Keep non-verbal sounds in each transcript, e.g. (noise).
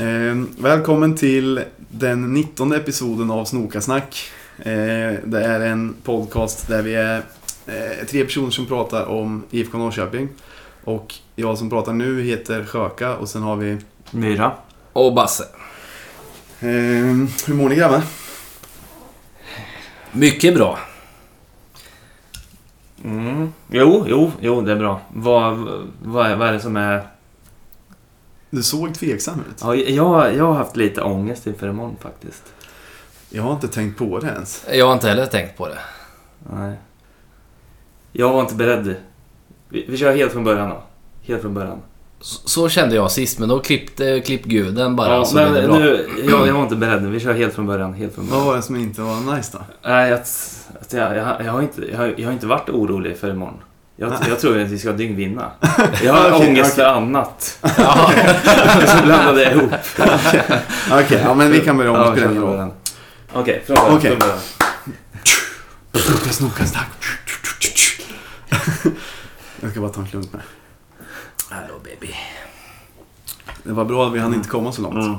Ehm, välkommen till den 19 episoden av Snokasnack. Eh, Det är en podcast där vi är eh, tre personer som pratar om IFK Norrköping. Och jag som pratar nu heter Sjöka och sen har vi... Myra. Och Basse. Eh, hur mår ni grabbar? Mycket bra. Mm. Jo, jo, jo, det är bra. Vad, vad, är, vad är det som är... Du såg tveksam ut. Ja, jag, jag har haft lite ångest inför imorgon faktiskt. Jag har inte tänkt på det ens. Jag har inte heller tänkt på det. Nej. Jag var inte beredd. Vi, vi kör helt från början då. Helt från början. Så, så kände jag sist, men då klippte klippguden bara. ja, så blev alltså, det men bra. nu, jag, jag var inte beredd. Vi kör helt från början. Helt från Vad början. var det som inte var nice då? Nej, att, att jag, jag, jag, har inte, jag, har- jag har inte varit orolig för imorgon. Jag, jag tror att vi ska dyngvinna. Jag har Okej, ångest okej. för annat. (laughs) Så blandade jag ihop. Okej, ja men vi kan börja om. Ja, det spelar ingen kör roll. från början. Okej, från början. Okej. Från början. Snokas, snokas, tack. (laughs) Jag ska bara ta en klunk med. Hallå baby. Det var bra att vi hann inte komma så långt. Mm.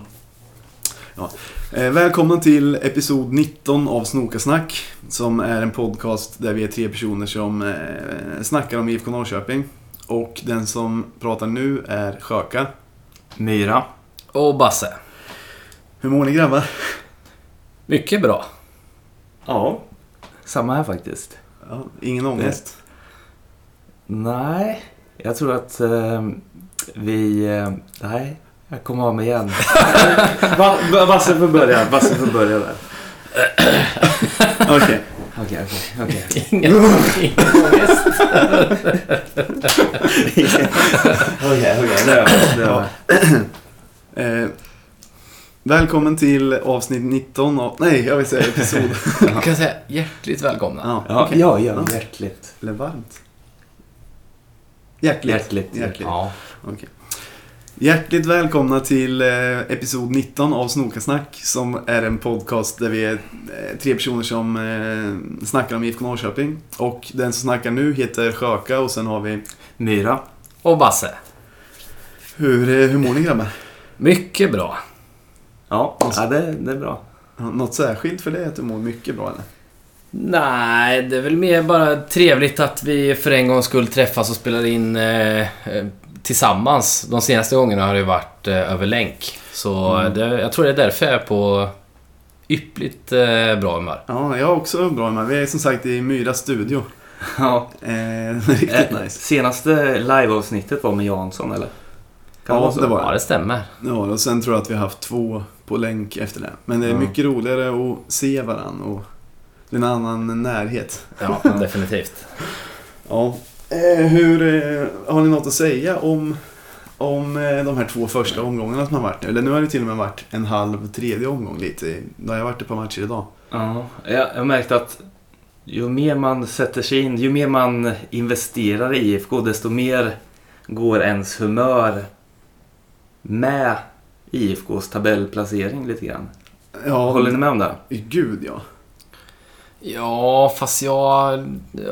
Eh, Välkomna till episod 19 av Snokasnack. Som är en podcast där vi är tre personer som eh, snackar om IFK Norrköping. Och den som pratar nu är Sjöka. Myra. Och Basse. Hur mår ni grabbar? Mycket bra. Ja. Samma här faktiskt. Ja, ingen ångest? Nej, jag tror att eh, vi... Eh, nej, jag kommer av mig igen. (laughs) Va- va- Basse får börja. Basse får börja där. Okej. Okej, okej, okej. Ingen ångest. Okej, okej. Snö, snö. Eh, välkommen till avsnitt 19 av... Nej, jag vill säga (laughs) episod. Jag kan säga hjärtligt välkomna. ja, Ja, okej. ja, ja, hjärtligt. Eller varmt? Hjärtligt. Hjärtligt. Hjärtligt. Ja. Okej. Hjärtligt välkomna till eh, episod 19 av Snokasnack som är en podcast där vi är eh, tre personer som eh, snackar om IFK Norrköping. Och den som snackar nu heter Sjöka och sen har vi... Myra. Och Basse. Hur, eh, hur mår ni grabbar? Mycket bra. Ja, ja det, det är bra. Har Något särskilt för dig att du mår mycket bra eller? Nej, det är väl mer bara trevligt att vi för en gångs skull träffas och spelar in eh, eh, tillsammans. De senaste gångerna har det ju varit eh, över länk. Så eh, det, jag tror det är därför jag är på yppligt eh, bra humör. Ja, jag är också bra med. Vi är som sagt i Myras studio. Ja. Eh, (laughs) riktigt Eh, nice. senaste liveavsnittet var med Jansson, eller? Kan Ja, vara så? det var Ja, det. det stämmer. Ja, och sen tror jag att vi har haft två på länk efter det. Men det är Ja. mycket roligare att se varandra och det är en annan närhet. Ja, definitivt. Ja. Eh, hur, eh, har ni något att säga om, om eh, de här två första omgångarna som har varit nu? Eller nu har det till och med varit en halv tredje omgång lite. Då har jag varit ett par matcher idag. Ja, jag jag har märkt att ju mer man sätter sig in, ju mer man investerar i IFK, desto mer går ens humör med IFKs tabellplacering lite grann. Ja, Håller ni med om det? (laughs) Gud ja. Ja, fast jag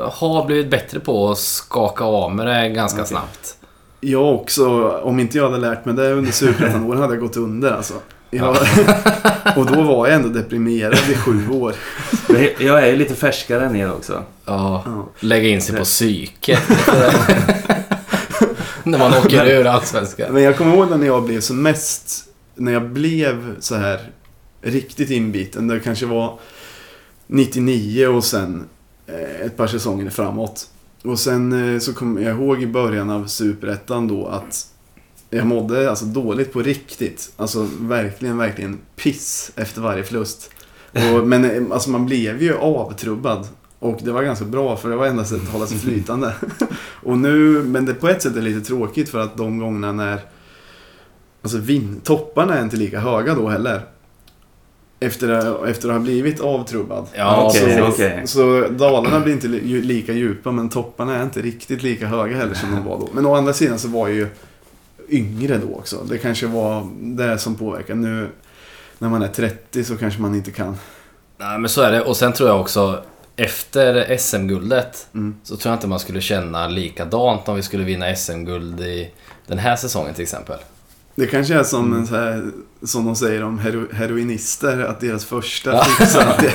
har blivit bättre på att skaka av med det ganska Okej. snabbt. Jag också, om inte jag hade lärt mig det under superettan-åren hade jag gått under alltså. Jag, (laughs) och då var jag ändå deprimerad i sju år. Men jag- Jag är ju lite färskare än er också. Ja, Ja. lägga in sig på psyket. (laughs) När man åker ur Allsvenskan. Men jag kommer ihåg när jag blev som mest, när jag blev så här riktigt inbiten. Det kanske var 99 och sen eh, ett par säsonger framåt. Och sen eh, så kommer jag ihåg i början av Superettan då att jag mådde alltså dåligt på riktigt. Alltså verkligen, verkligen piss efter varje förlust. Och, men eh, alltså man blev ju avtrubbad. Och det var ganska bra för det var enda sättet att hålla sig flytande. (laughs) Och nu, men det på ett sätt är det lite tråkigt för att de gångerna när Alltså vin, topparna är inte lika höga då heller. Efter, att- efter att ha blivit avtrubbad. Ja, Okej, precis. så, okej. så dalarna blir inte li, ju- lika djupa men topparna är inte riktigt lika höga heller som de var då. Men å andra sidan så var jag ju yngre då också. Det kanske var det som påverkade. Nu när man är 30 så kanske man inte kan. Nej men så är det. Och sen tror jag också efter SM-guldet Mm. så tror jag inte man skulle känna likadant om vi skulle vinna SM-guld i den här säsongen till exempel. Det kanske är som, en så här, som de säger om hero, heroinister, att deras (laughs) första fix är alltid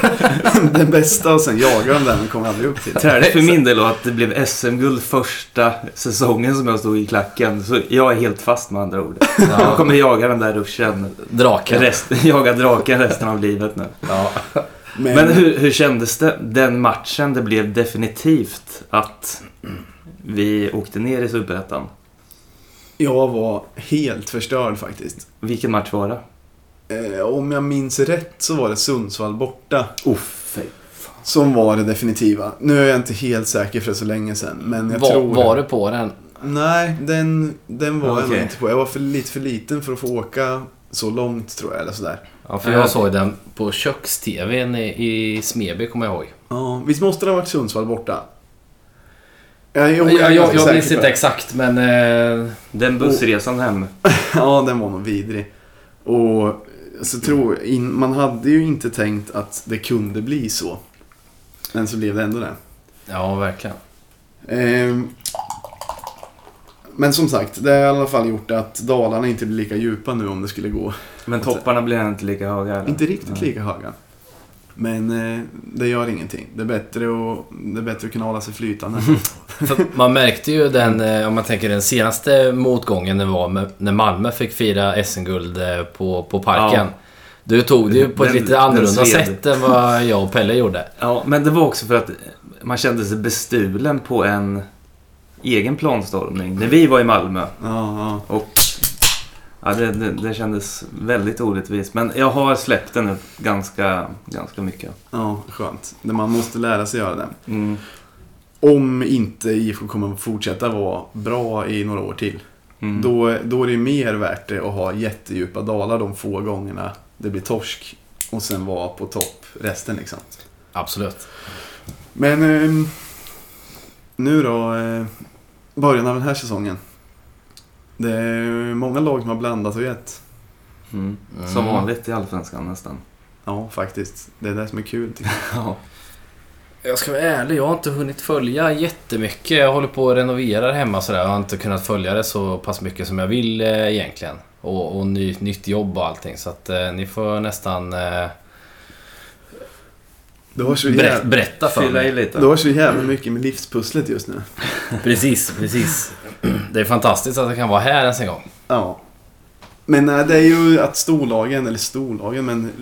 den bästa och sen jagar de den men kommer aldrig upp till det. Träligt för min del att det blev SM-guld första säsongen som jag stod i klacken. Så jag är helt fast med andra ord. Jag kommer jaga den där ruschen. Draken. Rest, jaga draken resten av livet nu. Ja. Men, (laughs) Men hur, hur kändes det den matchen? Det blev definitivt att vi åkte ner i Superettan. jag var helt förstörd faktiskt. Vilken match var det? Eh, om jag minns rätt så var det Sundsvall borta. Uff, Som var det definitiva. Nu är jag inte helt säker för det är så länge sedan. Men jag Var, tror... var du på den? Nej, den, den var jag nog Okej. inte på. Jag var för, lite för liten för att få åka så långt tror jag. Eller sådär. Ja, för Eh. jag såg den på köks-tvn i, i Smeby, kommer jag ihåg. Ja, visst måste det ha varit Sundsvall borta? Jag, jo, Jag, jag, jag, är ganska jag minns säker på inte det. exakt, men... Eh, Den bussresan hem. Ja, den var nog vidrig. Och så tror in, man hade ju inte tänkt att det kunde bli så. Men så blev det ändå det. ja, verkligen. Ehm, Men som sagt, det har i alla fall gjort att Dalarna inte blir lika djupa nu om det skulle gå. Men topparna blev inte lika höga. Eller? Inte riktigt Ja. lika höga. Men eh, det gör ingenting. Det är bättre att, det är bättre att kunna hålla sig (laughs) flytande. För man märkte ju den, eh, om man tänker den senaste motgången det var med, när Malmö fick fira SM-guld eh, på, på Parken. Ja. Du tog det ju på ett Den- lite den annorlunda sved. sätt än vad jag och Pelle gjorde. Ja, men det var också för att man kände sig bestulen på en egen planstormning. När vi var i Malmö. ja, ja. Och ja, det, det, det kändes väldigt orättvist. Men jag har släppt den nu ganska, ganska mycket. Ja, skönt. Det man måste lära sig göra det. Mm. Om inte IFK kommer att fortsätta vara bra i några år till. Mm. Då, då är det mer värt det att ha jättedjupa dalar de få gångerna det blir torsk. Och sen vara på topp resten liksom. Absolut. Men ehm, nu då, eh, början av den här säsongen. Det är många lag som har blandat och gett. Mm. Som Mm. vanligt i Allsvenskan nästan. Ja, faktiskt. Det är det som är kul. tycker jag. Ja. Jag ska vara ärlig, jag har inte hunnit följa jättemycket. Jag håller på och renoverar hemma sådär. Jag har inte kunnat följa det så pass mycket som jag vill eh, egentligen. Och, och ny, nytt jobb och allting. Så att eh, ni får nästan eh, Du har så berä- jävla, berätta för Fylla mig. i lite. du har så jävla mycket med livspusslet just nu. Precis, precis. Det är fantastiskt att jag kan vara här ens en gång. Ja. Men nej, det är ju att storlagen, eller storlagen, men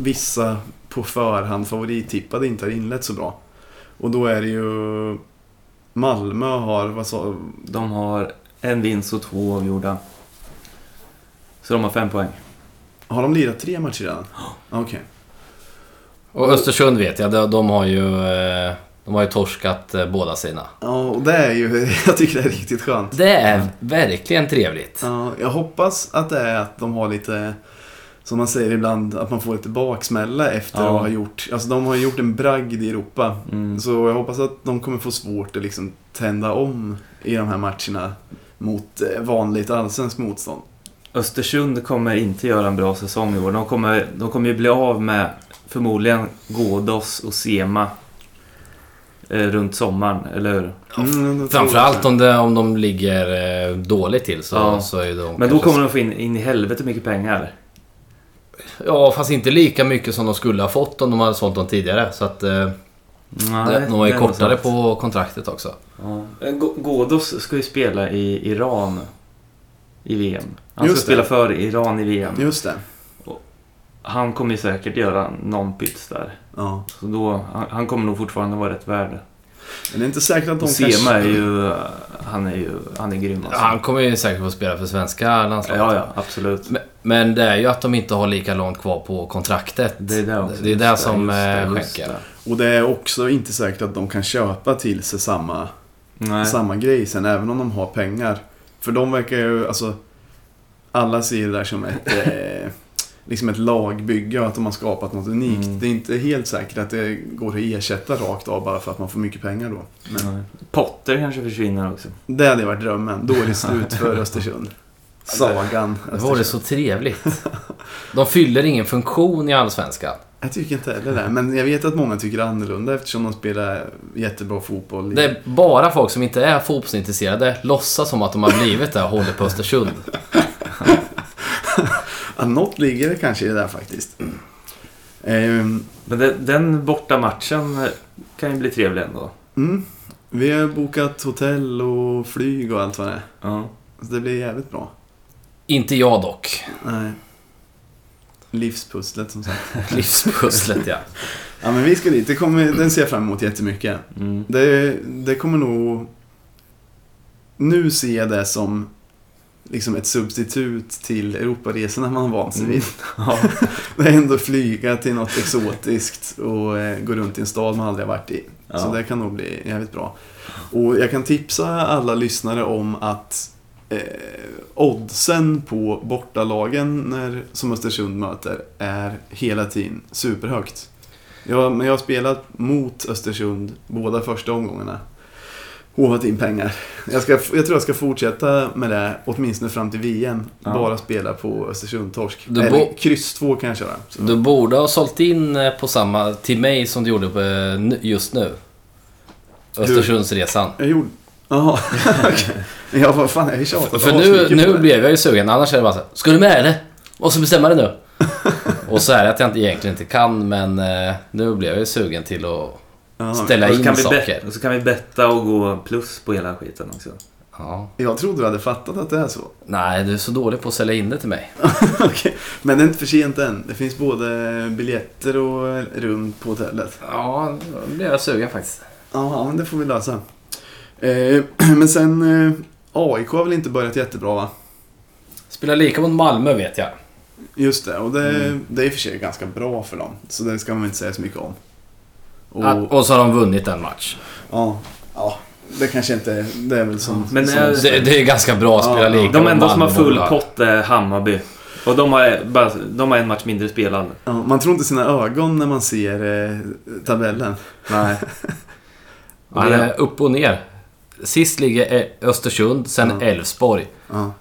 vissa på förhand favorittippade inte har inlett så bra. Och då är det ju Malmö har, vad sa De har en vinst och två avgjorda. Så de har fem poäng. Har de lirat tre matcher redan? Okej. Och Östersund vet jag, de, de har ju... eh, De har ju torskat eh, båda sina. Ja, och det är ju, (laughs) jag tycker det är riktigt skönt. Det är verkligen trevligt. Ja, jag hoppas att det är att de har lite, som man säger ibland, att man får lite baksmälla efter Ja. att ha gjort, alltså de har gjort en bragd i Europa. Mm. Så jag hoppas att de kommer få svårt att liksom tända om i de här matcherna mot eh, vanligt allsvenskt motstånd. Östersund kommer inte göra en bra säsong i år. De kommer, de kommer ju bli av med förmodligen Ghoddos och Sema eh, runt sommaren, eller hur? Mm, jag tror Framförallt det. om, det, om de ligger eh, dåligt till så, Ja. så är de Men då kanske- kommer de få in, in i helvete mycket pengar. Ja, fast inte lika mycket som de skulle ha fått om de hade sålt dem tidigare. Så att eh, Nej, de var ju det är nog kortare sant. på kontraktet också. Ja. Eh, Go- Ghoddos ska ju spela i Iran i VM. Han Just ska spela det. för Iran i VM. Just det. Han kommer ju säkert göra någon pyts där. Ja. Så då, han, han kommer nog fortfarande vara rätt värd. Men det är inte säkert att de Och Sema är ju... eh, Han är ju... Han är grym alltså. Han kommer ju säkert få spela för svenska landslaget. Ja, ja, absolut. Men, men det är ju att de inte har lika långt kvar på kontraktet. Det är det också. Det är det Just som just eh, det, just skänker. det. Och det är också inte säkert att de kan köpa till sig samma Nej. samma grej sen, även om de har pengar. För de verkar ju, alltså... Alla ser det där som ett, (laughs) eh, liksom ett lagbygge och att de har skapat något unikt. Mm. Det är inte helt säkert att det går att ersätta rakt av bara för att man får mycket pengar då. Men Nej. Potter kanske försvinner också. det hade varit drömmen. Då är det slut (laughs) för Östersund. Sagan Det vore Östersund. så trevligt. De fyller ingen funktion i Allsvenskan. Jag tycker inte heller det. Men jag vet att många tycker annorlunda eftersom de spelar jättebra fotboll. i- Det är bara folk som inte är fotbollsintresserade låtsas som att de har blivit det och håller på Östersund. Ja, något ligger det kanske i det där faktiskt. Ehm, Men det, den borta matchen eh, kan ju bli trevlig ändå. mm. Vi har bokat hotell och flyg och allt vad det är. Ja. Så det blir jävligt bra. Inte jag dock. Nej. Livspusslet som sagt. Livspusslet ja. Ja men vi ska dit. Det kommer, den ser jag fram emot jättemycket. Mm. Det, det kommer nog... Nu ser jag det som liksom ett substitut till Europaresorna man har vant sig vid. (laughs) Ja. (laughs) Det är ändå flyga till något exotiskt och eh, gå runt i en stad man aldrig har varit i. Ja. Så det kan nog bli jävligt bra. Och jag kan tipsa alla lyssnare om att eh, oddsen på bortalagen när, som Östersund möter är hela tiden superhögt. Jag, men jag har spelat mot Östersund båda första omgångarna. Håvat in pengar. Jag, ska, jag tror jag ska fortsätta med det åtminstone fram till VM. Ja. Bara spela på Östersund-torsk. Du Eller bo- kryss 2 kan jag köra. Så. Du borde ha sålt in eh, på samma till mig som du gjorde på, eh, nu- just nu. Östersundsresan. Jag gjorde... Jaha, (laughs) okej. Ja, vad fan, jag har ju tjatat För nu, asmycket på nu det. blev jag ju sugen, annars är det bara så här, Ska du med eller? Måste bestämma det nu. och så är det att jag inte, egentligen inte kan, men eh, nu blev jag ju sugen till att Ja, ställa Och så, kan in vi saker. bet- och så kan vi betta och gå plus på hela skiten också. Ja. Jag trodde du hade fattat att det är så. (laughs) Nej, du är så dålig på att sälja in det till mig. Okej. Men det är inte för sent än. Det finns både biljetter och rum på hotellet. Ja, då blev jag sugen faktiskt. Ja, men det får vi lösa. Eh, (clears throat) men sen... Eh, AIK har väl inte börjat jättebra, va? Spelar lika mot Malmö vet jag. Just det, och det, Mm. det är i och för sig ganska bra för dem. Så det ska man inte säga så mycket om. Och, Att, och så har de vunnit en match. ja, ja, det kanske inte... Det är väl som... Men, som eh, Det, det är ganska bra att spela Ja, lika De mot enda som har Malmö full bolag. pott är Hammarby. Och de har, bara, de har en match mindre spelad. Ja, man tror inte sina ögon när man ser eh, tabellen. Nej. Och Det är upp och ner. Sist ligger Ö- Östersund, sen Elfsborg. Ja.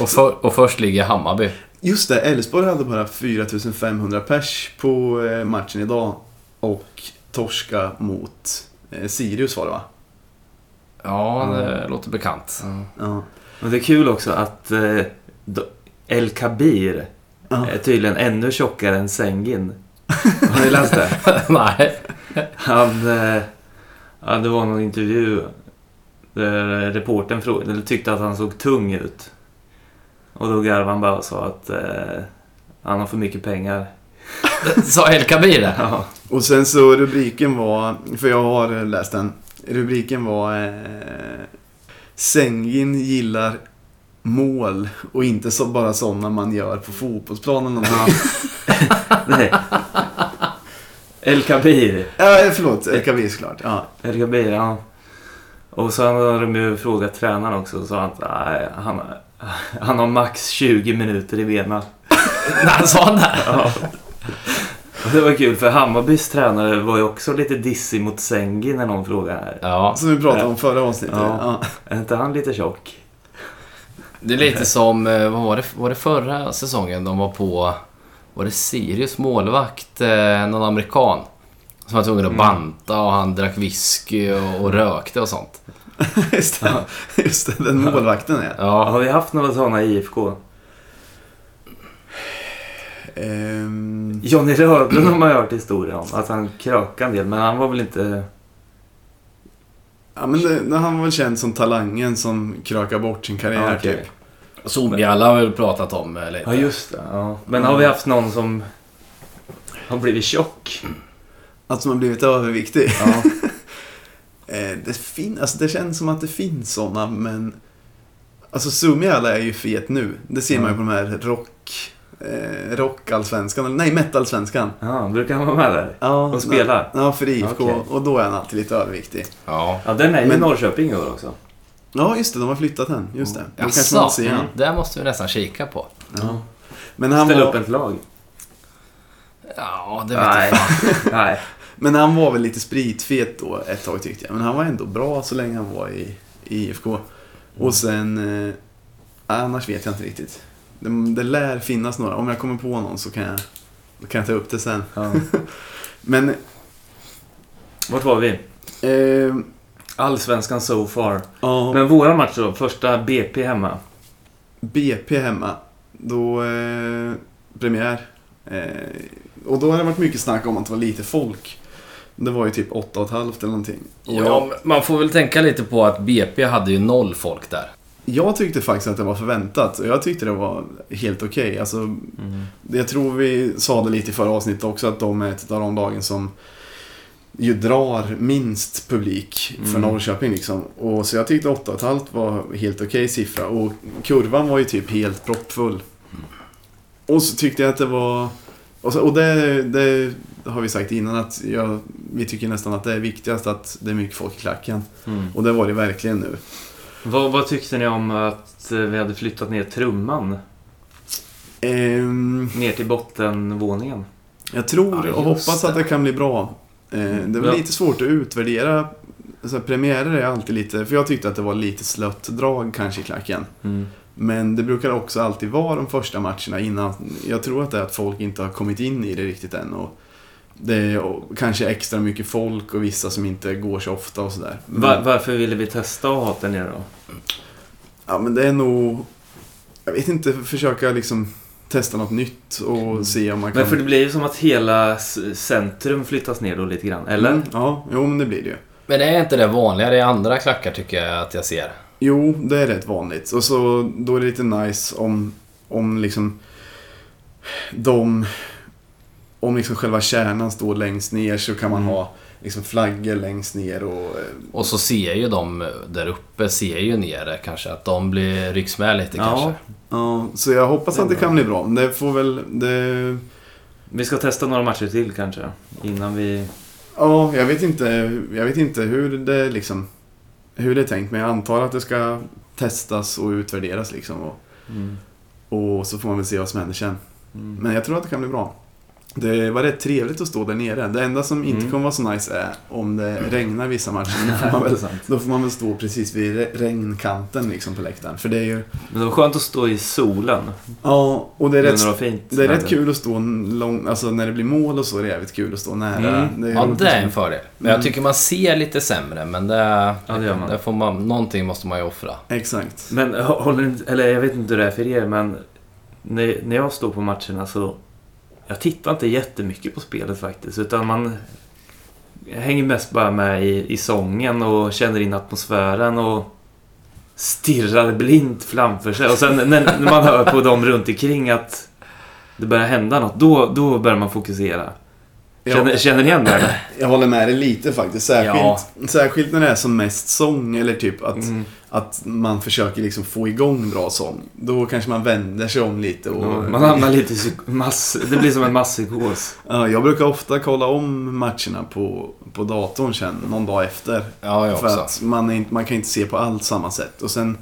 Och, för, och först ligger Hammarby. Just det, Elfsborg hade bara 4500 pers på eh, matchen idag. Och torska mot eh, Sirius var det va? Ja, det låter bekant. Ja. Men det är kul också att eh, do- El Kabir Ja. är tydligen ännu tjockare än Sengin. Har ni läst det? (laughs) Nej. Han, eh, ja, det var någon intervju där reportern frå- eller tyckte att han såg tung ut. Och då garvade han bara och sa att eh, han har för mycket pengar. Sa El Kabir det? Ja. Och sen så rubriken var, för jag har eh, läst den. Rubriken var eh, Sengin gillar mål och inte så, bara sådana man gör på fotbollsplanen. Ja, Nej. (laughs) El Kabir. ja förlåt. LKV såklart. Ja. El Kabir, ja. Och så har de ju frågat tränaren också och sa att nej, han, han har max 20 minuter i benen. Nej, sa han det? Ja. Och Det var kul för Hammarbys tränare var ju också lite dissig mot Sengi när någon frågade här. Ja. Som vi pratade om förra avsnittet. Ja. Ja. Är inte han lite tjock? Det är lite som, eh, vad var det, var det förra säsongen de var på? Var det Sirius målvakt, eh, någon amerikan? Som var tvungen att banta och han drack whisky och, och rökte och sånt. (laughs) Just det, just det den målvakten är. Ja. Har vi haft några sådana i IFK? Ehm, Johnny Rödlund har man ju hört historier om. Att han krökade en del, men han var väl inte... ja, men det, det- han var väl känd som talangen som krökar bort sin karriär Ja, okej. typ. Zoomialla har vi väl pratat om eh, lite. Ja, just det. Ja. Men har vi haft någon som har blivit tjock? Att man har blivit överviktig. Ja. (laughs) Eh, det, fin, alltså, det känns som att det finns sådana men... Alltså Sumiala är ju fet nu. Det ser man ju på de här rock... Eh, rockallsvenskan, eller nej metalsvenskan. ja, brukar han vara med där? Ja, Och spelar? Ja, för IFK. Okej. Och då är han alltid lite överviktig. Ja. Ja, den är ju i Men- Norrköping i år också. Ja, just det. De har flyttat den. Just det. Då kanske man Jaså? inte Mm. ser han. Det måste vi nästan kika på. Ja. Men han Ställa var... upp ett lag. Ja, det vet jag. Nej. (laughs) Nej. Men han var väl lite spritfet då ett tag tyckte jag. Men han var ändå bra så länge han var i, i IFK. Och sen... Eh, annars vet jag inte riktigt. Det, det lär finnas några. Om jag kommer på någon så kan jag, då kan jag ta upp det sen. Ja. Men... Vart var vi? Eh, Allsvenskan so far. ja, Men våra matcher då? Första BP hemma. BP hemma. Då eh, premiär. Eh, och då har det varit mycket snack om att det var lite folk. Det var ju typ 8,5 eller någonting. Och Ja, jag, men man får väl tänka lite på att BP hade ju noll folk där. jag tyckte faktiskt att det var förväntat och jag tyckte det var helt okej. Alltså, Mm. jag tror vi sa det lite i förra avsnittet också att de är ett av de lagen som ju drar minst publik för Mm. Norrköping liksom. Och så jag tyckte 8,5 var helt okej siffra och kurvan var ju typ helt proppfull. Och så tyckte jag att det var... Och, så, och det, det har vi sagt innan att jag, vi tycker nästan att det är viktigast att det är mycket folk i klacken. Mm. Och det var det verkligen nu. Vad, vad tyckte ni om att eh, vi hade flyttat ner trumman Ehm, ner till bottenvåningen? Jag tror Ja, just och hoppas att det. det kan bli bra. Eh, Det är väl Ja. lite svårt att utvärdera. Så här, premiärer är alltid lite, för jag tyckte att det var lite slött drag kanske i klacken. Mm. Men det brukar också alltid vara de första matcherna innan. Jag tror att det är att folk inte har kommit in i det riktigt än. Och det är och kanske extra mycket folk och vissa som inte går så ofta och sådär. Men- Va- varför ville vi testa att ha den nere då? Ja men det är nog... Jag vet inte, försöka liksom testa något nytt och se om man kan... Mm. Men för det blir ju som att hela s- centrum flyttas ner då lite grann, eller? Mm, ja, jo men det blir det ju. Men det är inte det vanligare i andra klackar tycker jag att jag ser. Jo, det är rätt vanligt. Och så då är det lite nice om, om liksom de... Om liksom själva kärnan står längst ner så kan man ha liksom flaggor längst ner och... eh, Och så ser ju de där uppe, ser ju nere kanske, att de blir rycks med lite Ja. kanske. Ja, så jag hoppas att det kan bli bra. Det får väl... Det, Vi ska testa några matcher till kanske. Innan vi... ja, jag vet inte, jag vet inte hur det liksom... Hur det är tänkt, men jag antar att det ska testas och utvärderas liksom. Och, och så får man väl se vad som händer sen. Mm. Men jag tror att det kan bli bra. Det var rätt trevligt att stå där nere. Det enda som inte Mm. kommer vara så nice är om det regnar vissa matcher. (laughs) Då får man väl, sant. då får man väl stå precis vid re- regnkanten liksom på läktaren. För det är ju... Men det var skönt att stå i solen. Ja, och det är Det rätt, när det var fint. det är rätt väder. kul att stå långt... Alltså när det blir mål och så är det jävligt kul att stå nära. Mm. är Ja, roligt det liksom. är en fördel. Men jag tycker man ser lite sämre, men det... Ja, det gör man. det får man någonting måste man ju offra. Exakt. Men hå- håller ni, eller jag vet inte hur det är för er, men när, när jag står på matcherna så... Jag tittar inte jättemycket på spelet faktiskt, utan man hänger mest bara med i, i sången och känner in atmosfären och stirrar blint framför sig. Och sen när, när man hör på dem runt omkring att det börjar hända något, då, då börjar man fokusera. Känner, Jag, känner ni igen det? eller? jag håller med dig lite faktiskt. Särskilt, Ja. särskilt när det är som mest sång eller typ att, Mm. att man försöker liksom få igång bra sång. Då kanske man vänder sig om lite och... Man hamnar lite i psyk- mass... Det blir som en masspsykos. (laughs) Ja, jag brukar ofta kolla om matcherna på, på datorn sen, någon dag efter. Ja, jag För också. att man, är inte, man kan inte se på allt samma sätt. Och sen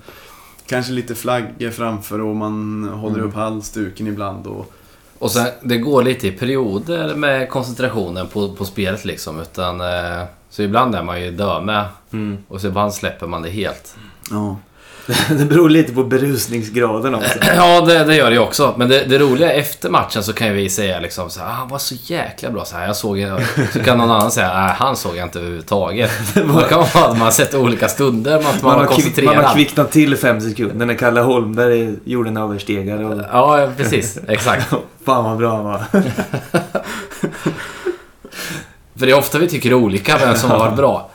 kanske lite flaggor framför och man håller upp halsduken ibland. Och, Och sen, det går lite i perioder med koncentrationen på, på spelet liksom, utan... Eh, så ibland är man ju dö med Mm. och så ibland släpper man det helt. ja. Det beror lite på berusningsgraden också. (clears throat) Ja, det, det gör det ju också. Men det, det roliga efter matchen så kan ju vi säga liksom så här, "Ah, han var så jäkla bra så här. Jag såg ju-" Så kan någon annan säga, nej han såg jag inte överhuvudtaget. Då kan man vara att man har sett olika stunder, man, man, Man var har, kvick, man koncentrerad. har kvicknat till fem sekunder när Kalle Holmberg gjorde en överstegare. Och, (laughs) Ja, ja, precis. Exakt. fan vad bra han var. För det är ofta vi tycker olika vem som har varit bra.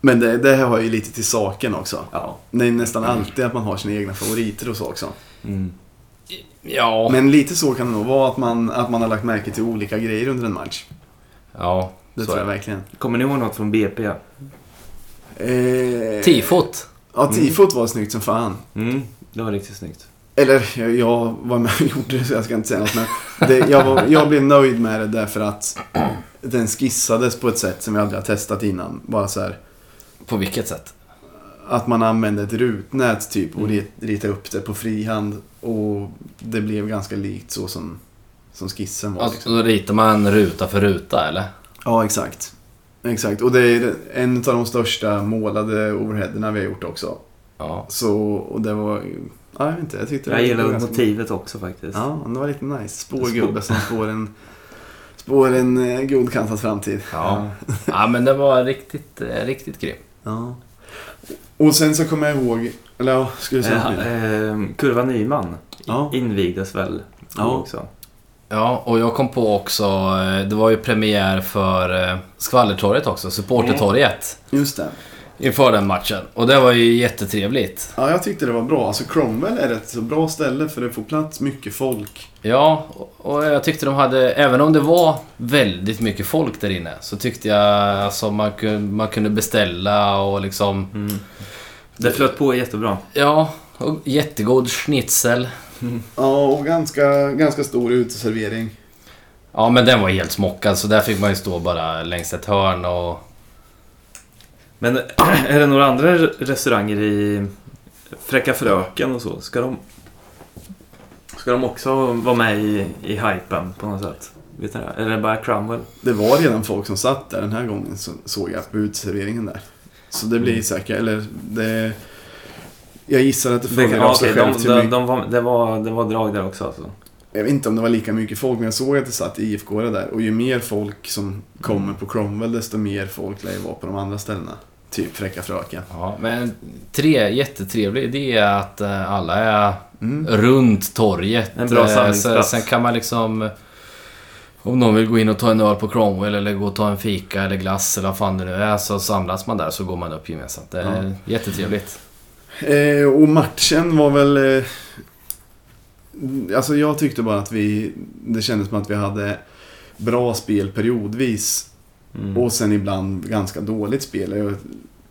Men det, det här har ju lite till saken också. Ja. Det är nästan alltid att man har sina egna favoriter och så också. Mm. Ja. Men lite så kan det nog vara, att man, att man har lagt märke till olika grejer under en match. Ja, Det så tror jag är det. verkligen. Kommer ni ihåg något från BP? Eh, Tifot. Mm. Ja, tifot var snyggt som fan. Mm. Det var riktigt snyggt. Eller jag- jag var med och (laughs) gjorde det så jag ska inte säga något. Men det, jag, var, jag blev nöjd med det därför att den skissades på ett sätt som vi aldrig har testat innan. Bara så här På vilket sätt? att man använde ett rutnät typ Mm. och rit- ritade upp det på frihand. Och det blev ganska likt så som, som skissen var. Alltså, Liksom. då ritar man ruta för ruta eller? Ja, exakt. Exakt, och det är en av de största målade overheaderna vi har gjort också. Ja. Så, och det var... Ja, jag vet inte, jag tyckte det Jag var gillade ganska- motivet också faktiskt. Ja, det var lite nice. Spårgubbe som spår en, spår en eh, guldkantad framtid. Ja. ja, men det var riktigt, eh, riktigt grym. Ja. Och sen så kommer jag ihåg, eller ja, skulle du säga något Eh, mer? eh, Kurva Nyman Ja. invigdes väl Ja. också? Ja, och jag kom på också, eh, det var ju premiär för eh, Skvallertorget också, Supportertorget. Just det. Inför den matchen. Och det var ju jättetrevligt. Ja, jag tyckte det var bra. Alltså Cromwell är ett så bra ställe för det får plats mycket folk. Ja, och- och jag tyckte de hade, även om det var väldigt mycket folk där inne, så tyckte jag alltså man kunde, man kunde beställa och liksom... Mm. Det flöt på jättebra. Ja, och jättegod schnitzel. Ja, och ganska, ganska stor uteservering. Ja, men den var helt smockad så där fick man ju stå bara längs ett hörn och... Men (clears throat) är det några andra restauranger i Fräcka Fröken och så? Ska de, ska de också vara med i, i hypen på något sätt? Vet ni det? Eller är det bara Cromwell? Det var redan folk som satt där den här gången, så såg jag på uteserveringen där. Så det Mm. blir säkert, eller det... Jag gissar att det Det, följer av ja, sig okej, själv de, hur de, mycket- de var, det, var, det var drag där också alltså. Jag vet inte om det var lika mycket folk, men jag såg att det satt IFK där. Och ju mer folk som kommer på Cromwell, desto mer folk lär ju vara på de andra ställena. Typ Fräcka Fröken. Ja, men tre, jättetrevlig idé att eh, alla är Mm. runt torget. En bra Eh, sen, samlingsplats. sen kan man liksom... Om någon vill gå in och ta en öl på Cromwell eller gå och ta en fika eller glass eller vad fan det nu är så samlas man där så går man upp gemensamt. Det är jättetrevligt. Eh, och matchen var väl... Eh, alltså jag tyckte bara att vi... Det kändes som att vi hade bra spel periodvis. Mm. Och sen ibland ganska dåligt spel. Jag var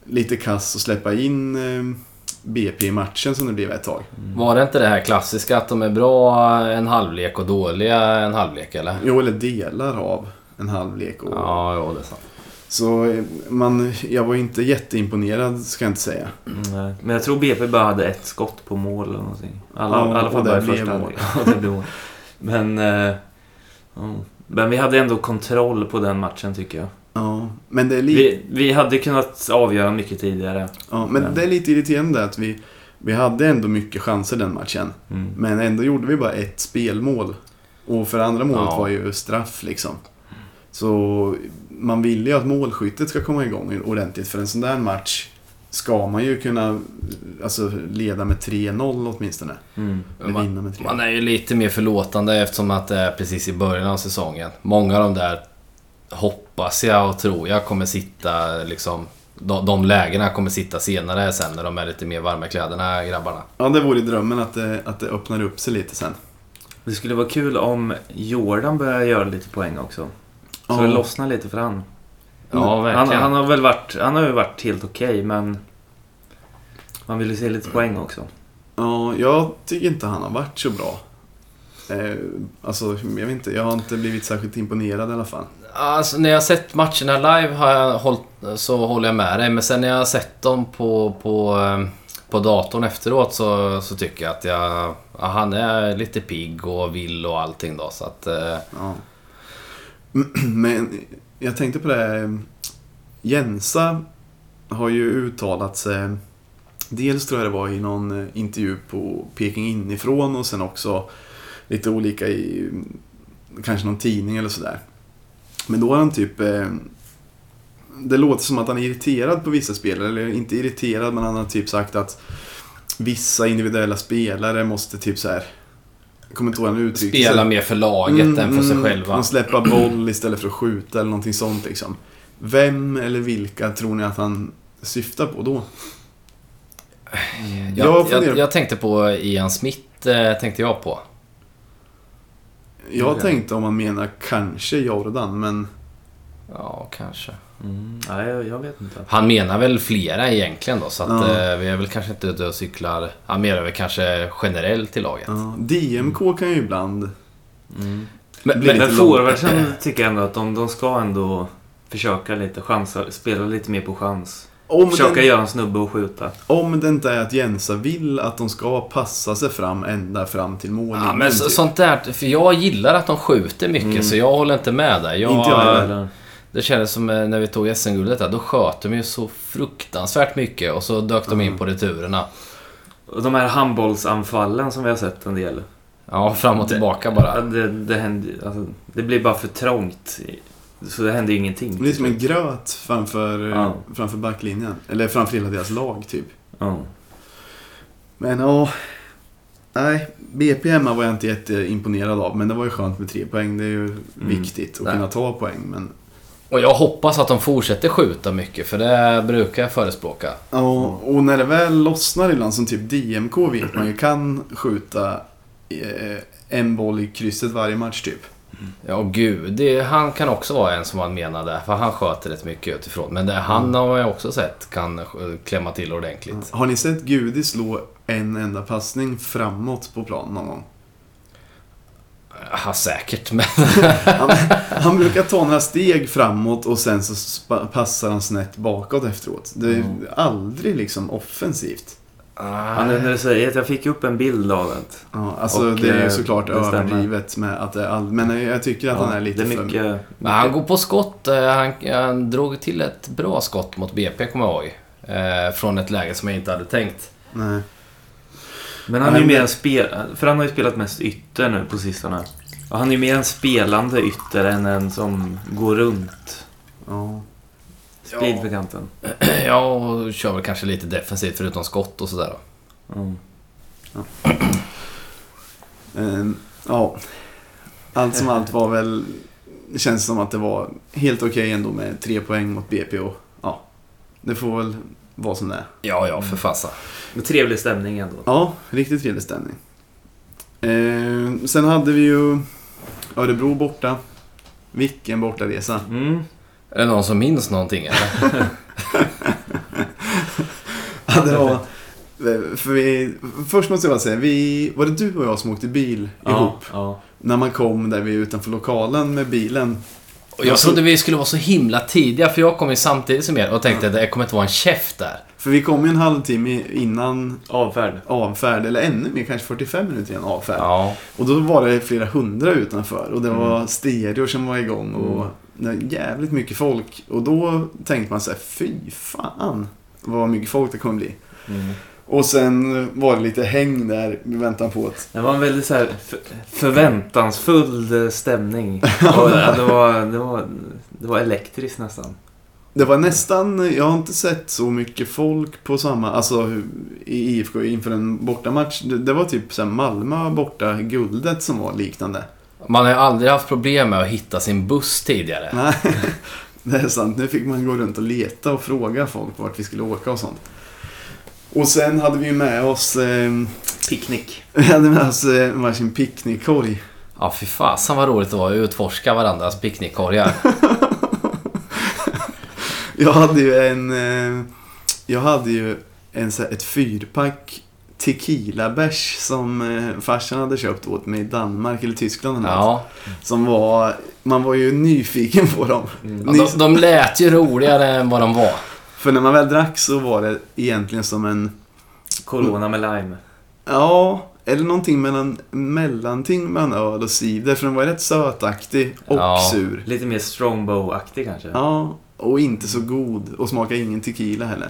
Lite kass att släppa in eh, BP i matchen som det blev ett tag. Mm. Var det inte det här klassiska att de är bra en halvlek och dåliga en halvlek eller? Jo, eller delar av en halvlek. Och, Ja, ja det är sant. Så eh, man, jag var inte jätteimponerad ska jag inte säga. Nej, Mm, eh, Men jag tror BP bara hade ett skott på mål eller någonting. Alla, Ja, I alla fall och bara i det blev första mål. halvlek. Ja, det blev mål. Men, eh, ja. men vi hade ändå kontroll på den matchen tycker jag. Ja, men det är, li- Vi, vi hade kunnat avgöra mycket tidigare. ja, men men- det är lite irriterande att vi, vi hade ändå mycket chanser den matchen. Mm. Men ändå gjorde vi bara ett spelmål. Och för det andra målet Ja. var ju straff liksom. Så man vill ju att målskyttet ska komma igång ordentligt. För en sån där match ska man ju kunna alltså, leda med 3-0 åtminstone. Mm. Eller Man- vinna med 3-0. Man är ju lite mer förlåtande eftersom att det är precis i början av säsongen. Många av de där hoppas jag och tror jag kommer sitta liksom... De, de lägena kommer sitta senare sen när de är lite mer varma i kläderna, grabbarna. Ja, det vore drömmen att det, att det öppnar upp sig lite sen. Det skulle vara kul om Jordan börjar göra lite poäng också. Så Ja. det lossnar lite för han. Ja, Han, verkligen. han har väl varit, han har ju varit helt okej men man vill ju se lite poäng också. Mm. Ja, jag tycker inte han har varit så bra. Eh, alltså, jag vet inte. Jag har inte blivit särskilt imponerad i alla fall. Alltså, när jag har sett matcherna live har jag hållt, så håller jag med dig. Men sen när jag har sett dem på, på, eh, på datorn efteråt så, så tycker jag att jag, ja, han är lite pigg och vill och allting då. Så att, eh, Ja. (clears throat) Men jag tänkte på det. här. Jensa har ju uttalat sig. Dels tror jag det var i någon eh, intervju på Peking inifrån och sen också lite olika i kanske någon tidning eller sådär. Men då har han typ... eh, Det låter som att han är irriterad på vissa spelare. Eller inte irriterad, men han har typ sagt att vissa individuella spelare måste typ så här. Jag kommer inte ihåg hur han uttryckte sig. spela mer för laget Mm, än för sig själva. De släppa boll istället för att skjuta eller någonting sånt liksom. Vem eller vilka tror ni att han syftar på då? Jag Jag, funderar- jag, jag tänkte på Ian Smith, eh, tänkte jag på. Jag Ja. tänkte om han menar kanske Jordan, men... Ja, kanske. Nej, jag, jag vet inte. Han menar väl flera egentligen då, så att Ja. eh, vi är väl kanske inte ute och cyklar. Han menar väl kanske generellt i laget. Ja, Mm. DMK kan ju ibland... Men, Blir men, lite Men långt. forwardsen tycker jag ändå att de, de ska ändå försöka lite, chansa, spela lite mer på chans. Om försöka det, göra en snubbe och skjuta. om det inte är att Jensa vill att de ska passa sig fram ända fram till mållinjen. ja, men så, typ. sånt där, för jag gillar att de skjuter mycket så jag håller inte med där. Jag, Mm. Inte jag heller. Eller- det kändes som eh, när vi tog SM-guldet där, då sköt de ju så fruktansvärt mycket och så dök de in på returerna. Och de här handbollsanfallen som vi har sett en del. Ja, fram och tillbaka bara. Ja, Det, det, händer, alltså, det blir bara för trångt. i- Så det händer ju ingenting. Det är som en gröt framför, Ja. framför backlinjen. Eller framför hela deras lag, typ. Ja. Men ja... Nej, BP hemma var jag inte jätteimponerad av, men det var ju skönt med tre poäng. Det är ju viktigt att Nej. kunna ta poäng. Men, Och jag hoppas att de fortsätter skjuta mycket, för det brukar jag förespråka. ja, och när det väl lossnar ibland, som typ DMK vet man ju kan skjuta eh, en boll i krysset varje match typ. Ja, och gud. Det, han kan också vara en som man menar där, för han sköter rätt mycket utifrån. Men det, han har jag också sett kan eh, klämma till ordentligt. Har ni sett Gudi slå en enda passning framåt på plan någon (laughs) gång? Ja, säkert, (laughs) men... Han, han brukar ta några steg framåt och sen så spa- passar han snett bakåt efteråt. Det är ju aldrig liksom offensivt. Ja, nu när du säger att jag fick upp en bild av den. Ja, alltså Och, det är ju eh, såklart det stämmer. överdrivet med att det är all... Men jag tycker att han är lite det är för... mycket... Men han går på skott. eh, Han, han drog till ett bra skott mot BP, kommer jag ihåg. Eh, från ett läge som jag inte hade tänkt. (clears throat) Nej. Men han är ju Men- mer en spel... För han har ju spelat mest ytter nu på sistone. Och han är ju mer en spelande ytter än en som går runt. Ja. Sprid Ja. på kanten. ja, och kör väl kanske lite defensivt förutom skott och sådär. då. Mm. Ehm, ja. Allt som allt var väl... Det känns som att det var helt okej ändå med tre poäng mot BP och ja. Det får väl vara som det är. Ja, ja, för fasen. Men trevlig stämning ändå. Ja, riktigt trevlig stämning. Eh, sen hade vi ju Örebro borta. Vilken bortaresa. (laughs) Mm. Är det någon som minns någonting eller? Ja, det var, för vi, först måste jag bara säga, vi, var det du och jag som åkte bil ihop? Ja. När man kom där vi är utanför lokalen med bilen. Och jag trodde vi skulle vara så himla tidiga för jag kom ju samtidigt som er och tänkte att det kommer inte vara en käft där. För vi kom ju en halvtimme innan Avfärd. avfärd, eller ännu mer, kanske 45 minuter innan avfärd. Ja. Och då var det flera hundra utanför och det var stereo som var igång och det var jävligt mycket folk. Och då tänkte man så här, fy fan vad mycket folk det kommer bli. Mm. Och sen var det lite häng där i väntan på att... Det var en väldigt så här för- förväntansfull eh, (laughs) stämning. Och det, det, var, det, var, det var elektriskt nästan. Det var nästan, jag har inte sett så mycket folk på samma, alltså hur- i IFK inför en bortamatch. Det, det var typ så här Malmö borta, guldet som var liknande. Man har ju aldrig haft problem med att hitta sin buss tidigare. Nej, (laughs) det är sant. Nu fick man gå runt och leta och fråga folk vart vi skulle åka och sånt. Och sen hade vi ju med oss, eh, (laughs) Picknick. vi hade med oss eh, varsin picknickkorg. Ja, fy fasen vad roligt det var att utforska varandras (laughs) picknickkorgar. Jag hade ju en, eh, jag hade ju en, så här, ett fyrpack tequilabärs som eh, farsan hade köpt åt mig i Danmark eller Tyskland. eller något. Ja. Som var, man var ju nyfiken på dem. Mm. Ja, Ny- De, de lät ju roligare än vad de var. För när man väl drack så var det egentligen som en Corona med lime. Ja, eller någonting mellan, mellanting mellan öl och cider. För den var rätt sötaktig och Ja. sur. Lite mer strongbow-aktig kanske. Ja, och inte så god. Och smakade ingen tequila heller.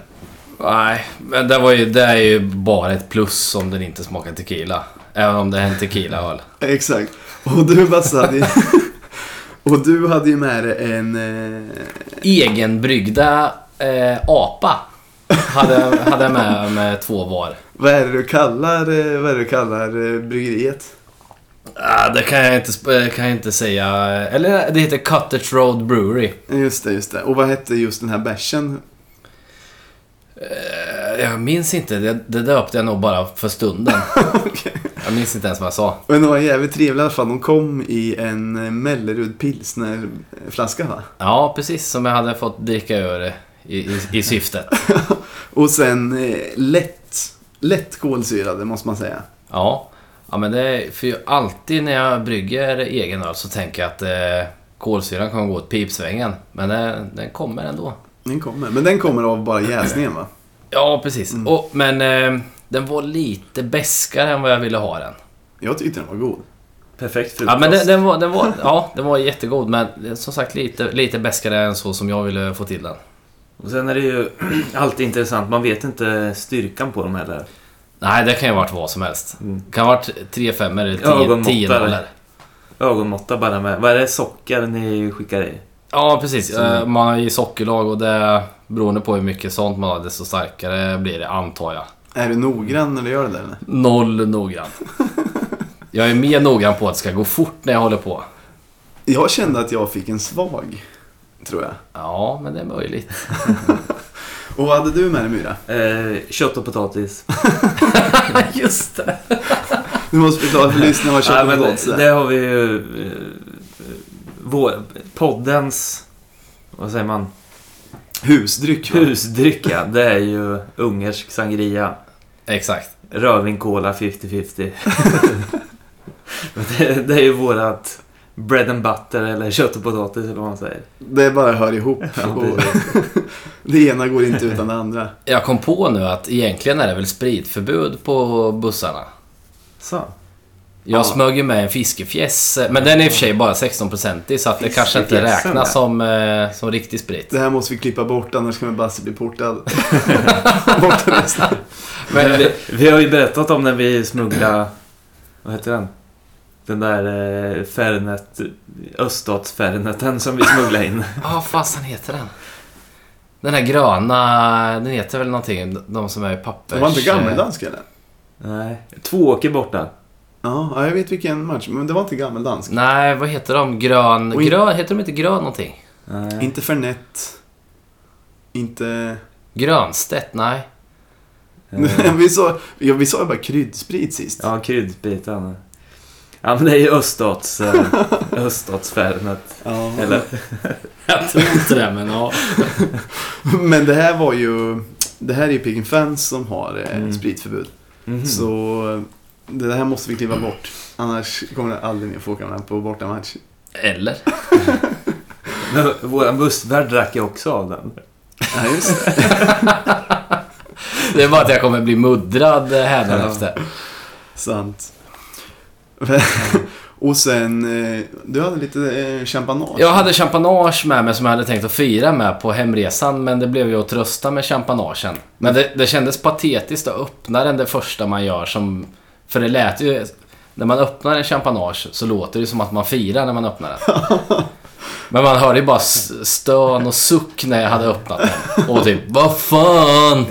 Nej, men det, var ju, det är ju bara ett plus om den inte smakar tequila. Även om det är en tequilaöl. Exakt. Och du Basse hade ju... (laughs) Och du hade ju med dig en... Eh, Egenbryggda eh, apa hade, jag- hade jag med med två var. vad är det du kallar, eh, vad är det du kallar eh, bryggeriet? Ah, det kan jag, inte, sp- eh, kan jag inte säga. Eller det heter Cottage Road Brewery. Just det, just det. Och vad hette just den här bärsen? Eh, Jag minns inte. Det, det döpte jag nog bara för stunden. Jag minns inte ens vad jag sa. Men de var jävligt trevliga i alla fall. De kom i en eh, Mellerud pilsnerflaska va? Ja, precis. Som jag hade fått dricka över i, i, i syftet. Och sen eh, lätt, lätt kolsyrade måste man säga. Ja, ja men det är, för jag- alltid när jag brygger egen öl så tänker jag att eh, kolsyran kommer gå åt pipsvängen. Men den, den kommer ändå. Den kommer. Men den kommer av bara jäsningen va? Ja, precis. Och, men eh, den var lite beskare än vad jag ville ha den. Jag tyckte den var god. Perfekt frukost. Ja, men den, den, var, den, var, ja, den var jättegod, men eh, som sagt lite, lite beskare än så som jag ville få till den. Och sen är det ju (clears throat) alltid intressant. Man vet inte styrkan på dem heller. Nej, det kan ju ha varit vad som helst. Mm. Det kan ha varit 3 5 eller 10 Ögonmåttare. 10 nollor. Ögonmåtta bara med. Vad är det socker ni skickar i? Ja, precis. Eh, Man har ju sockerlag och det, beroende på hur mycket sånt man har, desto starkare blir det, antar jag. Är du noggrann när du gör det där eller? Noll noggrann. Jag är mer noggrann på att det ska gå fort när jag håller på. Jag kände att jag fick en svag, tror jag. Ja, men det är möjligt. Och vad hade du med dig Myra? Eh, kött och potatis. Just det. Du måste förklara för lyssnarna vad kött Nej, och men potatis det, är. det har vi ju... Eh, vår, poddens... Vad säger man? Husdryck. va? Husdrycka. Det är ju ungersk sangria. Exakt. Rödvin cola (laughs) 50-50. Men det, det är ju vårat bread and butter eller kött och potatis eller vad man säger. Det bara hör ihop. Och (laughs) det ena går inte utan det andra. Jag kom på nu att egentligen är det väl spritförbud på bussarna. Så. Jag Ja. smög ju med en fiskefjäs, eh, men den är i och för sig bara 16% så att det kanske inte Fiskefjäsen, räknas ja. som, eh, som riktig sprit. Det här måste vi klippa bort annars kommer Basse bli (laughs) portad. bort den resten. Men vi, vi har ju berättat om när vi smugglade... Vad heter den? Den där eh, Fernet... Öststatsferneten som vi smugglade (laughs) in. Ja, ah, fasen heter den? Den här gröna, den heter väl någonting, de som är i pappers... eh, Det var inte gammeldansk eller? Nej. Två åker borta. Ja, ja, jag vet vilken match. Men det var inte gammeldansk. Nej, vad heter de? Grön... Oj. grön heter de inte grön någonting? Nej. Inte Fernet. Inte... Grönstedt? Nej. Eh, (laughs) vi, sa, ja, vi sa ju bara kryddsprit sist. Ja, kryddbitarna. Ja, men det är ju öststats... eh, (laughs) Öststatsfernet. Ja. Eller? Jag tror inte det, men ja. Men det här var ju... Det här är ju Piggen Fans som har eh, Mm. spritförbud. Mm-hmm. Mhm. Så det här måste vi kliva bort. Annars kommer det aldrig mer få åka med på bortamatch. Eller? Men våran bussvärd drack ju också av den. Ja, just det. Det är bara att jag kommer bli muddrad hädanefter. (laughs) Sant. (laughs) Och sen, eh, du hade lite eh, champanage. Jag hade champanage med mig som jag hade tänkt att fira med på hemresan men det blev ju att trösta med champanagen. Men det, det kändes patetiskt att öppna den det första man gör som... För det lät ju... När man öppnar en champanage så låter det som att man firar när man öppnar den. Men man hörde ju bara s- stön och suck när jag hade öppnat den. Och typ vad fan!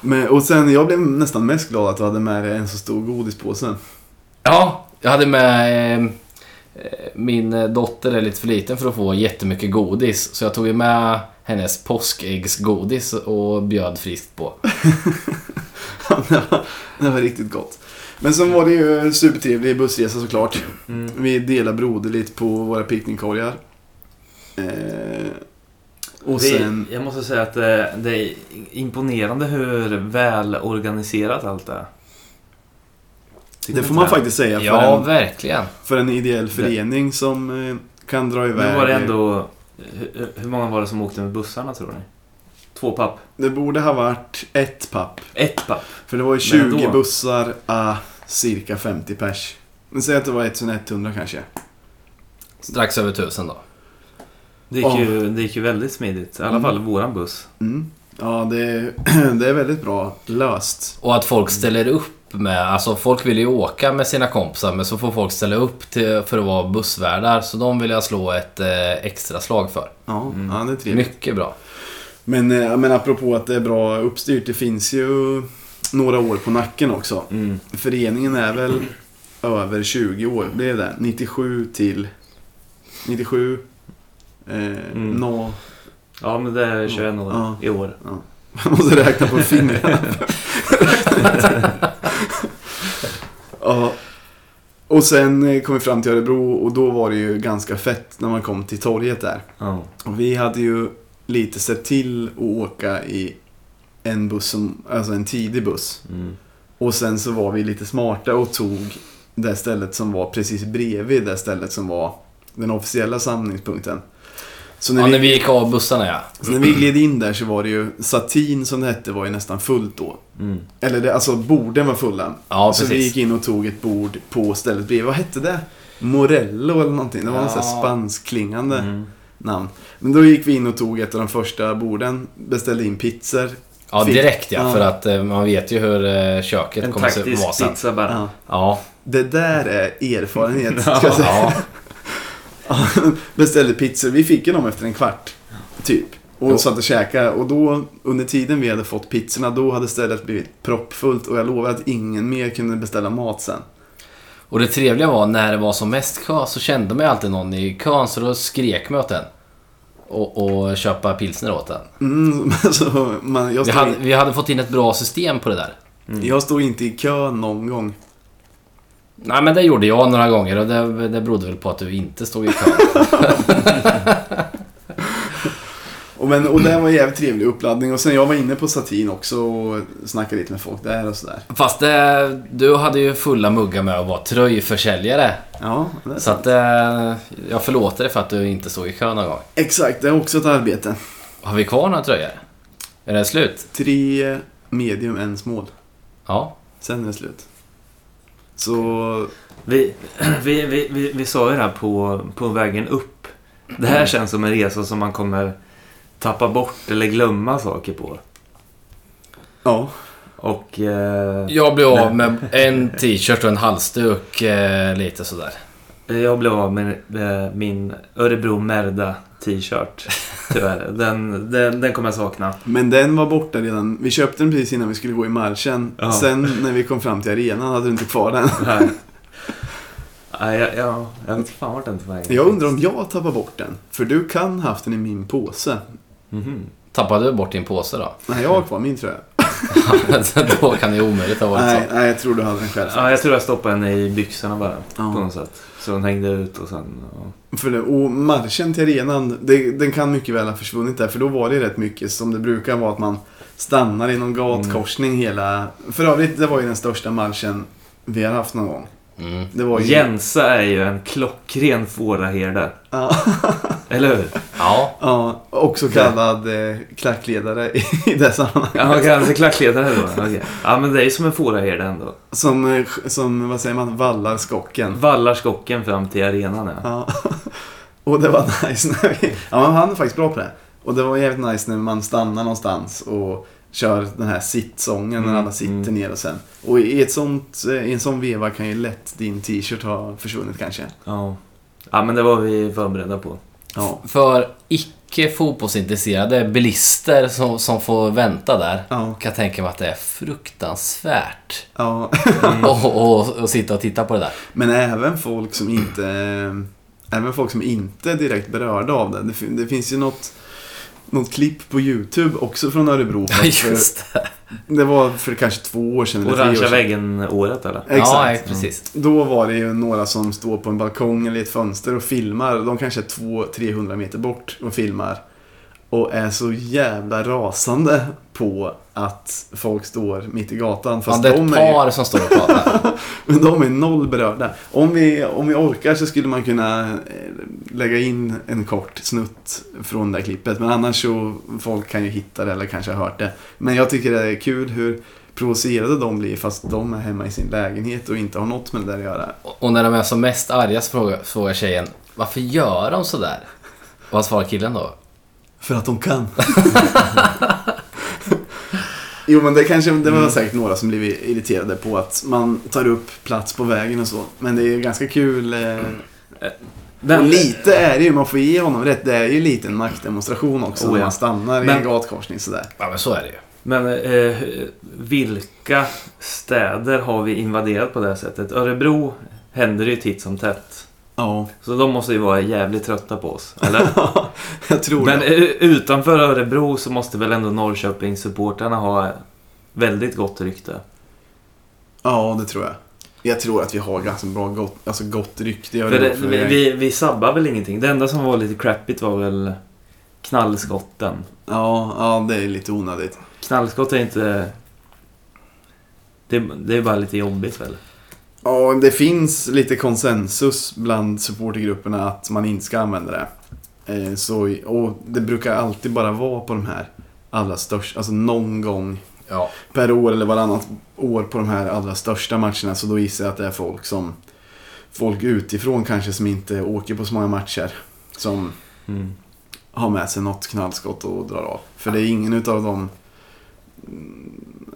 Men, och sen, jag blev nästan mest glad att du hade med dig en så stor godispåse. (laughs) Ja, jag hade med... eh, Min eh, dotter är lite för liten för att få jättemycket godis. Så jag tog ju med hennes påskäggsgodis och bjöd friskt på. det, var, det var riktigt gott. Men sen var det ju en supertrevlig bussresa såklart. Mm. Vi delade broderligt på våra picknickkorgar. Eh, och Det är- sen... jag måste säga att det, det är imponerande hur välorganiserat allt är. Tycker Det du får inte man faktiskt säga för, Ja, en, verkligen. för en ideell förening som eh, kan dra iväg. Nu var det ändå... Hur, hur många var det som åkte med bussarna tror ni? Två papp? Det borde ha varit ett papp. Ett papp? För det var ju Men 20 ändå. bussar, ah, cirka 50 pers. Men säg att det var 1100 kanske. Strax över tusen då. Det gick, Ja. ju, det gick ju väldigt smidigt. I alla Mm. fall våran buss. Mm. Ja, det, (clears throat) det är väldigt bra löst. Och att folk ställer upp med... Alltså folk vill ju åka med sina kompisar men så får folk ställa upp till, för att vara bussvärdar. Så de vill jag slå ett eh, extra slag för. Ja, Mm. ja det är trevligt. Mycket bra. Men, eh, men apropå att det är bra uppstyrt, det finns ju några år på nacken också. Föreningen är väl över 20 år, blev det. 97 till 97. Eh, Mm. nå- Ja, men det är 21 år Ja. i år. Man måste räkna på fingrarna. ja. Och sen eh, kom vi fram till Örebro och då var det ju ganska fett när man kom till torget där. Ja. Och vi hade ju lite sett till att åka i en buss, som, alltså en tidig buss. Mm. Och sen så var vi lite smarta och tog det stället som var precis bredvid det stället som var den officiella samlingspunkten. Så när, Ja, vi, när vi gick av bussarna ja. så när vi gled in där så var det ju, Satin som det hette var ju nästan fullt då. Mm. Eller det, alltså borden var fulla. Ja, så vi precis. gick in och tog ett bord på stället bredvid. Vad hette det? Morello eller någonting. Det var Ja. något sånt spansklingande Mm. namn. Men då gick vi in och tog ett av de första borden, beställde in pizzor. Ja, Fick- direkt ja. Ja. För att eh, man vet ju hur eh, köket En kommer att se- taktisk vara sen. pizza bara. Ja. Ja, Det där är (laughs) erfarenhet, ska jag säga. ja. (laughs) Beställde pizzor. Vi fick ju dem efter en kvart, typ. Och satt och käkade. Och då, under tiden vi hade fått pizzorna, då hade stället blivit proppfullt. Och jag lovar att ingen mer kunde beställa mat sen. Och det trevliga var när det var som mest kö så kände man ju alltid någon i kön så då skrek man åt den. Och, och köpa pilsner åt den. Mm, (laughs) så man, jag, Vi stod, hade, vi hade fått in ett bra system på det där. jag stod inte i kö någon gång. Nej men det gjorde jag några gånger och det, det berodde väl på att du inte stod i kö. Och, men, och det var en jävligt trevlig uppladdning. Och sen jag var inne på Satin också och snackade lite med folk där och sådär. Fast det, du hade ju fulla muggar med att vara tröjförsäljare. Ja, det är Så att eh, jag förlåter dig för att du inte stod i kö någon gång. Exakt, det är också ett arbete. Har vi kvar några tröjor? Är det slut? Tre medium, en small. Ja. Sen är det slut. Så... Vi, vi, vi, vi, vi sa ju det här på, på vägen upp. Det här känns som en resa som man kommer tappa bort eller glömma saker på. Ja. Och... Eh, Jag blev av med en t-shirt och en halsduk eh, lite sådär. Jag blev av med eh, min Örebro Merda t-shirt. (laughs) Tyvärr. Den, den, den kommer jag sakna. Men den var borta redan. Vi köpte den precis innan vi skulle gå i marschen. Ja. Sen när vi kom fram till arenan hade du inte kvar den. Nej. Nej, jag, jag, jag vet fan vart den tog vägen. Jag undrar om jag tappar bort den. För du kan haft den i min påse. Mhm. Tappade du bort din påse då? (laughs) Nej, jag har kvar min tröja. Så då kan det ju omöjligt ha varit så. Nej, nej, jag tror du hade den själv. Ja, jag tror jag stoppade den i byxorna bara. Ja. På något sätt. Så den hängde ut och sen... ja. För det, och marschen till arenan, det, den kan mycket väl ha försvunnit där. För då var det rätt mycket som det brukar vara att man stannar i någon gatkorsning hela... För övrigt, det var ju den största marschen vi har haft någon gång. Mm. Det var ju... Jensa är ju en klockren fåraherde. Ja, (laughs) Eller hur? Ja. ja, också kallad eh, klackledare i, i det sammanhanget. Ja, man kan se klackledare (laughs) då. Okej. Ja, men det är ju som en fåraherde ändå. Som, eh, som, vad säger man, vallar skocken. Vallar skocken fram till arenan ja. Ja. (laughs) Och det var nice när vi... Ja, men han är faktiskt bra på det. Och det var jävligt nice när man stannar någonstans och kör den här sittsången när Mm, alla sitter mm. ner och sen. Och i, ett sånt, eh, i en sån veva kan ju lätt din t-shirt ha försvunnit kanske. ja. Ja, men det var vi förberedda på. Ja. För icke fotbollsintresserade bilister som, som får vänta där. Ja. Kan jag tänka mig att det är fruktansvärt ja. (laughs) (laughs) att och, och sitta och titta på det där. Men även folk som inte... Även folk som inte är direkt berörda av det. Det, fin- det finns ju något, något klipp på YouTube också från Örebro. Ja, För, just det. det var för kanske två år sedan. eller tre år Orangea sedan. väggen-året eller? Ja, Exakt. precis. Då var det ju några som står på en balkong eller i ett fönster och filmar. De kanske är 200-300 meter bort och filmar. Och är så jävla rasande på att folk står mitt i gatan. Ja, Fast det är de, ett är, par som står och pratar. ju- (laughs) de är noll berörda. Om vi, om vi orkar så skulle man kunna eh, lägga in en kort snutt från det här klippet. Men annars så folk kan ju hitta det eller kanske har hört det. Men jag tycker det är kul hur provocerade de blir fast de är hemma i sin lägenhet och inte har något med det där att göra. Och och när de är som mest arga så frågar, frågar tjejen Varför gör de sådär? Och vad svarar killen då? För att de kan. (laughs) jo men det kanske, det var säkert några som blev irriterade på att man tar upp plats på vägen och så. Men det är ju ganska kul. eh, Mm. Och lite är det ju, man får ge honom rätt. Det är ju lite en maktdemonstration också Oh, när ja. man stannar i Men- en gatkorsning sådär. Ja men så är det ju. Men eh, vilka städer har vi invaderat på det här sättet? Örebro händer det ju titt som tätt. Ja, (laughs) Så de måste ju vara jävligt trötta på oss, eller? jag tror Men det. eh, utanför Örebro så måste väl ändå Norrköpingssupportrarna ha väldigt gott rykte? Ja, det tror jag. Jag tror att vi har ganska bra gott, alltså gott rykte. i För Örebro det, för vi, vi, vi sabbar väl ingenting? Det enda som var lite crappigt var väl knallskotten. Ja, ja, det är lite onödigt. Knallskott är inte... Det, det är bara lite jobbigt väl? Ja, det finns lite konsensus bland supportergrupperna att man inte ska använda det. Eh, Så, och det brukar alltid bara vara på de här allra största, alltså någon gång Ja. per år eller varannat år på de här allra största matcherna. Så då gissar jag att det är folk som, folk utifrån kanske som inte åker på så många matcher. Som Mm. har med sig något knallskott och drar av. För det är ingen utav dem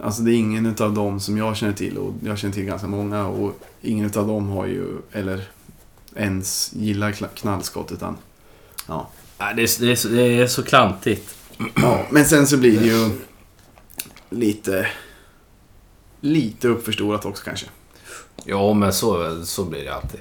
Alltså det är ingen utav dem som jag känner till och jag känner till ganska många och ingen utav dem har ju eller ens gillar kla- knallskott utan Nej, Det är, det, är, så- det är så klantigt. Ja, men sen så blir det ju lite... Lite uppförstorat också kanske. Jo, men så, så blir det alltid.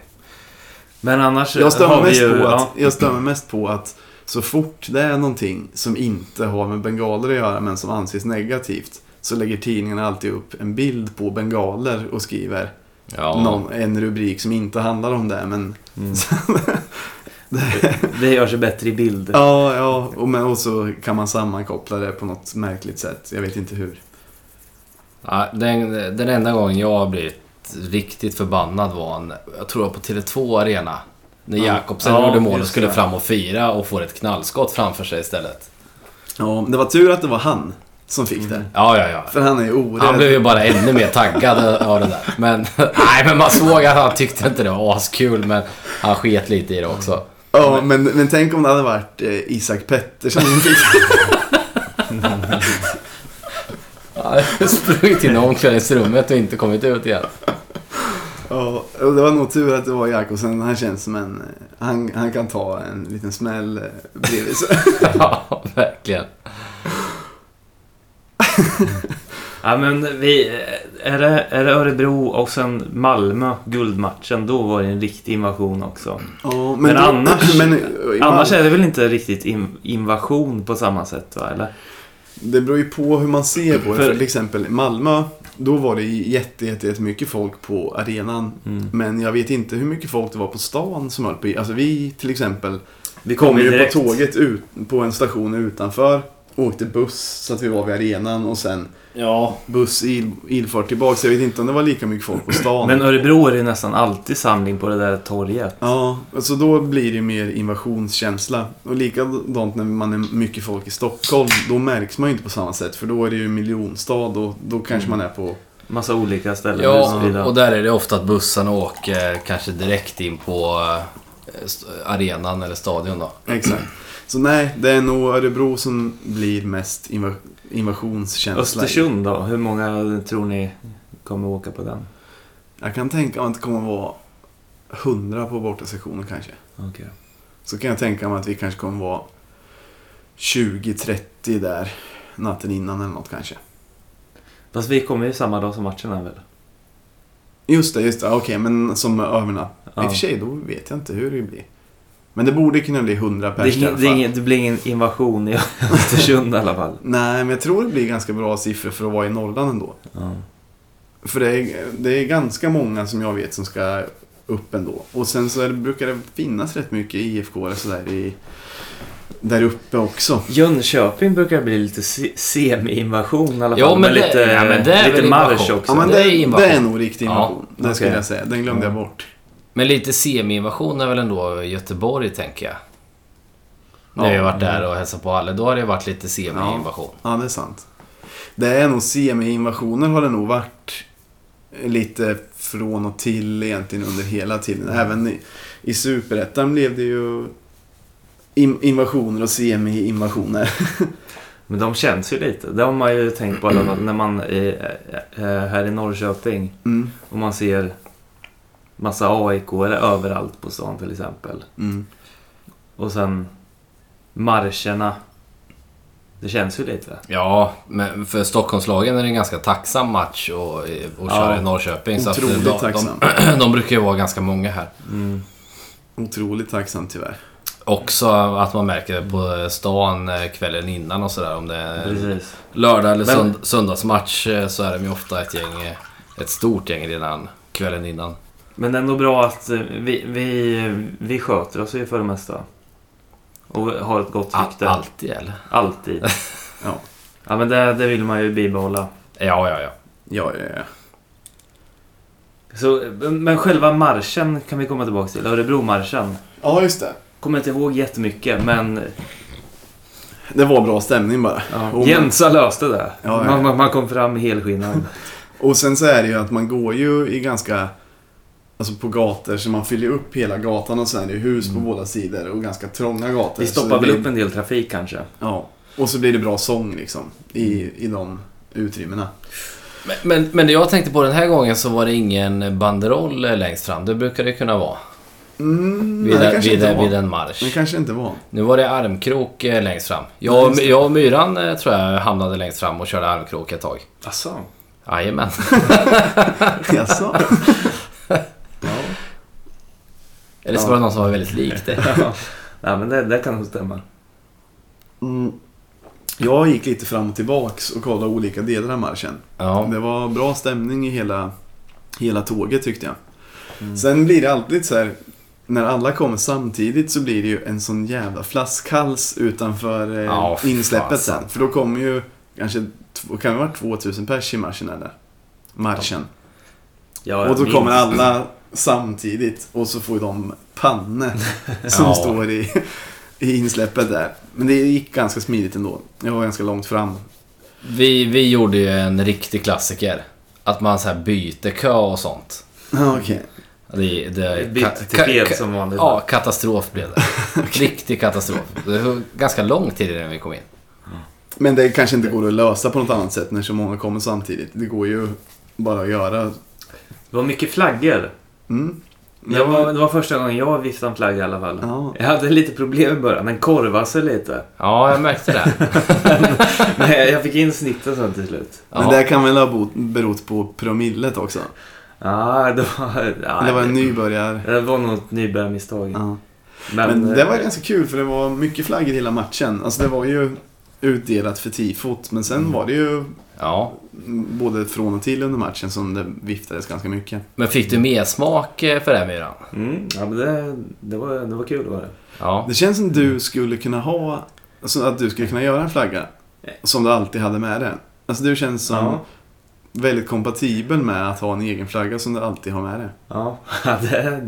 Men annars Jag stör, har mig vi mest ju... på att, ja, jag stör mig mest på att så fort det är någonting som inte har med bengaler att göra men som anses negativt så lägger tidningarna alltid upp en bild på bengaler och skriver Ja. någon, en rubrik som inte handlar om det. Men, det gör sig bättre i bild. ja, ja, och, men, och så kan man sammankoppla det på något märkligt sätt. Jag vet inte hur. Ja, den, den enda gången jag har blivit riktigt förbannad var en, jag tror det var på Tele2 Arena. När Mm. Jakobsen Ja, gjorde mål och just skulle det. fram och fira och får ett knallskott framför sig istället. Ja, det var tur att det var han som fick det. Ja, ja, ja. Mm. För han är ju orädd. Han blev ju bara ännu mer taggad av det där. Men, (laughs) nej, men man såg att han tyckte inte det var askul, men han sket lite i det också. Ja, men, men tänk om det hade varit eh, Isak Pettersson som fick Han hade sprungit in i omklädningsrummet och inte kommit ut igen. (laughs) Ja, och det var nog tur att det var Jakobsen. Han känns som en... eh, Han, han kan ta en liten smäll eh, bredvid sig. Ja, verkligen. Ja, men vi, eh, är, det, är det Örebro och sen Malmö, guldmatchen, då var det en riktig invasion också. Ja, Men annars- (clears throat) men, i Annars Malmö- är det väl inte riktigt in, invasion på samma sätt va, eller? Det beror ju på hur man ser på det. För- För till exempel i Malmö, då var det jätte, jätte, mycket folk på arenan. Mm. Men jag vet inte hur mycket folk det var på stan som höll på. Alltså vi till exempel Vi kom ju ju på tåget ut, på en station utanför. Åkte buss så att vi var vid arenan och sen Ja. buss il, ilfart tillbaka. Så jag vet inte om det var lika mycket folk på stan. Men Örebro är det ju nästan alltid samling på det där torget. Ja, alltså då blir det mer invasionskänsla. Och likadant när man är mycket folk i Stockholm, då märks man ju inte på samma sätt. För då är det ju miljonstad och då kanske man är på... Massa olika ställen. Ja, utspridda. och där är det ofta att bussarna åker kanske direkt in på eh, st- arenan eller stadion då. Exakt. Så nej, det är nog Örebro som blir mest inva- invasionskänsla. i. Östersund då? Hur många tror ni kommer åka på den? Jag kan tänka mig att det kommer att vara 100 på bortasektionen kanske. Okej. Så kan jag tänka mig att vi kanske kommer att vara 20-30 där natten innan eller något kanske. Fast vi kommer ju samma dag som matchen är väl? Just det, just det. Okej, men som övernatt. I och för sig, då vet jag inte hur det blir. Men det borde kunna bli 100 Det, pers är i alla ingen, det, är fall. ingen, det blir ingen invasion i (laughs) Östersund i alla fall. Nej, men jag tror det blir ganska bra siffror för att vara i Norrland ändå. Ja. För det är, det är ganska många som jag vet som ska upp ändå. Och sen så är det, brukar det finnas rätt mycket IFK och sådär i... Där uppe också. Jönköping brukar bli lite se- semi-invasion i alla fall. Jo, men med det- lite, ja, men det är väl lite marsch invasion. också. Ja, men det det, är det, invasion. är nog riktig invasion. Ja, det skulle okej. jag säga. Den glömde jag bort. Men lite semi-invasion är väl ändå Göteborg, tänker jag. När Ja. vi har varit där och hälsat på alla, då har det varit lite semi-invasion. Ja, det är sant. Det är nog semi-invasioner har det nog varit lite från och till egentligen under hela tiden. Mm. Även i, i Superettan blev det ju in, invasioner och semi-invasioner. (laughs) Men de känns ju lite. Det har man ju tänkt på i alla fall när man är eh, eh, här i Norrköping Mm. och man ser massa aik överallt på stan till exempel. Mm. Och sen marscherna. Det känns ju lite. Ja, men för Stockholmslagen är det en ganska tacksam match och, och köra Ja. i Norrköping. Så att eh, Otroligt de, tacksam. de, (clears throat) de brukar ju vara ganska många här. Otroligt tacksam tyvärr. Också att man märker det på stan eh, kvällen innan och sådär. Om det är Precis. lördag eller Men- sönd- söndagsmatch eh, så är de ju ofta ett gäng, eh, ett stort gäng redan kvällen innan. Men ändå bra att eh, vi, vi, vi sköter oss ju för det mesta. Och har ett gott Al- rykte. alltid eller? Alltid. Ja, Ja men det, det vill man ju bibehålla. Ja, ja, ja. ja, ja, ja. Så, men själva marschen kan vi komma tillbaka till. Örebromarschen. ja just det. Kommer inte ihåg jättemycket men Det var bra stämning bara. ja, Och- Jensa löste det. Ja, ja. Man, man, man kom fram helskinnad. Och sen så är det ju att man går ju i ganska... Alltså på gator, så man fyller upp hela gatan och sen är det ju hus på båda sidor och ganska trånga gator. Mm. Vi Så det stoppar väl blir- upp en del trafik kanske. Ja, och så blir det bra sång liksom i, i de utrymmena. Men, men, men det jag tänkte på den här gången så var det ingen banderoll eh, längst fram. Det brukar det kunna vara. Mm, vid, nej, det en- kanske vid, inte en- var. vid en marsch. Det kanske inte var. Nu var det armkrok eh, längst fram. Ja, Jag, just och- jag och Myran eh, tror jag hamnade längst fram och körde armkrok ett tag. Asså. Jajamän. Jaså? (laughs) ja. Eller så var det någon som var väldigt lik det. (laughs) Ja. Nej, men det, det kan nog stämma. mm. Jag gick lite fram och tillbaks och kollade olika delar av marschen. Ja. Det var bra stämning i hela, hela tåget tyckte jag. Mm. Sen blir det alltid så här. När alla kommer samtidigt så blir det ju en sån jävla flaskhals utanför eh, Ja, fy insläppet fasen. sen. För då kommer ju kanske, två- kan det vara 2000 pers i marschen eller? Marschen. Ja, och då jag kommer minns. alla samtidigt och så får de (laughs) panne som Ja. står i, i insläppet där. Men det gick ganska smidigt ändå. Jag var ganska långt fram. Vi, vi gjorde ju en riktig klassiker. Att man så här byter kö och sånt. Ja, okej. Det, det, Bytt till fel som vanligt. Ja, katastrof blev (laughs) det. Riktig katastrof. Det var ganska lång tid innan vi kom in. Men det kanske inte går att lösa på något annat sätt när så många kommer samtidigt. Det går ju bara att göra. Det var mycket flaggor. Mm. Jag var, det var första gången jag viftade en flagga i alla fall. Ja. Jag hade lite problem i början. Den korvade sig lite. (laughs) Ja, jag märkte det. Men jag, jag fick in snitten sen till slut. Men det kan väl ha bo- berott på promillet också? Ja, det var... Ja, Eller var det en nybörjar... Det var nog ett nybörjarmisstag. Ja. Men, Men det var eh, ganska kul för det var mycket flaggor hela matchen. Alltså det var ju utdelat för tifot men Mm. sen var det ju Ja. både från och till under matchen som det viftades ganska mycket. Men fick du medsmak eh, för det här Myran? Mm, ja, men det, det, var, det var kul var det. Ja. Det känns som Mm. du skulle kunna ha, alltså att du skulle kunna göra en flagga som du alltid hade med dig. Alltså du känns som Ja. väldigt kompatibel med att ha en egen flagga som du alltid har med dig. Ja, (laughs) det,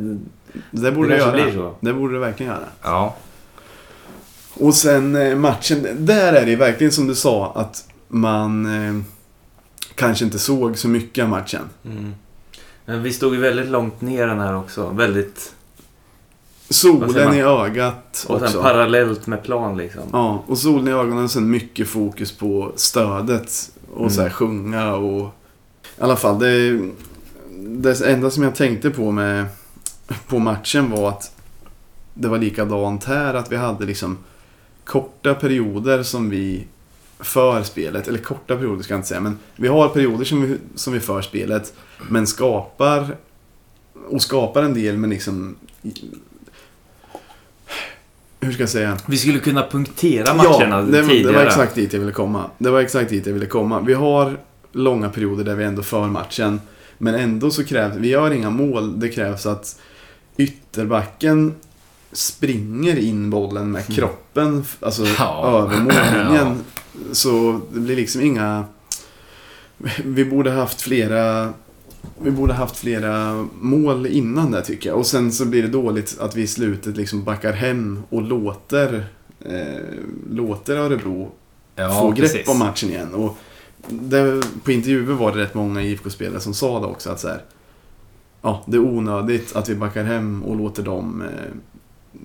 Det borde Det du kanske göra. blir så. Det borde du verkligen göra. Ja. Och sen eh, matchen, där är det ju verkligen som du sa att man eh, kanske inte såg så mycket av matchen. mm. Men vi stod ju väldigt långt ner den här också. Väldigt... Vad säger Solen man? i ögat Och också. sen parallellt med plan liksom. ja, och solen i ögonen och sen mycket fokus på stödet. Och Mm. så här sjunga och... I alla fall, det, det enda som jag tänkte på med, på matchen var att det var likadant här. Att vi hade liksom korta perioder som vi för spelet. Eller korta perioder ska jag inte säga. Men vi har perioder som vi, som vi för spelet. Men skapar och skapar en del men liksom... Hur ska jag säga? Vi skulle kunna punktera matcherna ja, det, tidigare. det var exakt dit jag ville komma. Det var exakt dit jag ville komma. Vi har långa perioder där vi ändå för matchen. Men ändå så krävs, vi gör inga mål. Det krävs att ytterbacken springer in bollen med Mm. kroppen, f- alltså Ja. över mållinjen. Så det blir liksom inga... Vi borde haft flera... Vi borde haft flera mål innan det tycker jag. Och sen så blir det dåligt att vi i slutet liksom backar hem och låter, eh, låter Örebro ja få grepp precis. om matchen igen. Och det, på intervjuer var det rätt många IFK-spelare som sa det också att så här, ja, det är onödigt att vi backar hem och låter dem eh,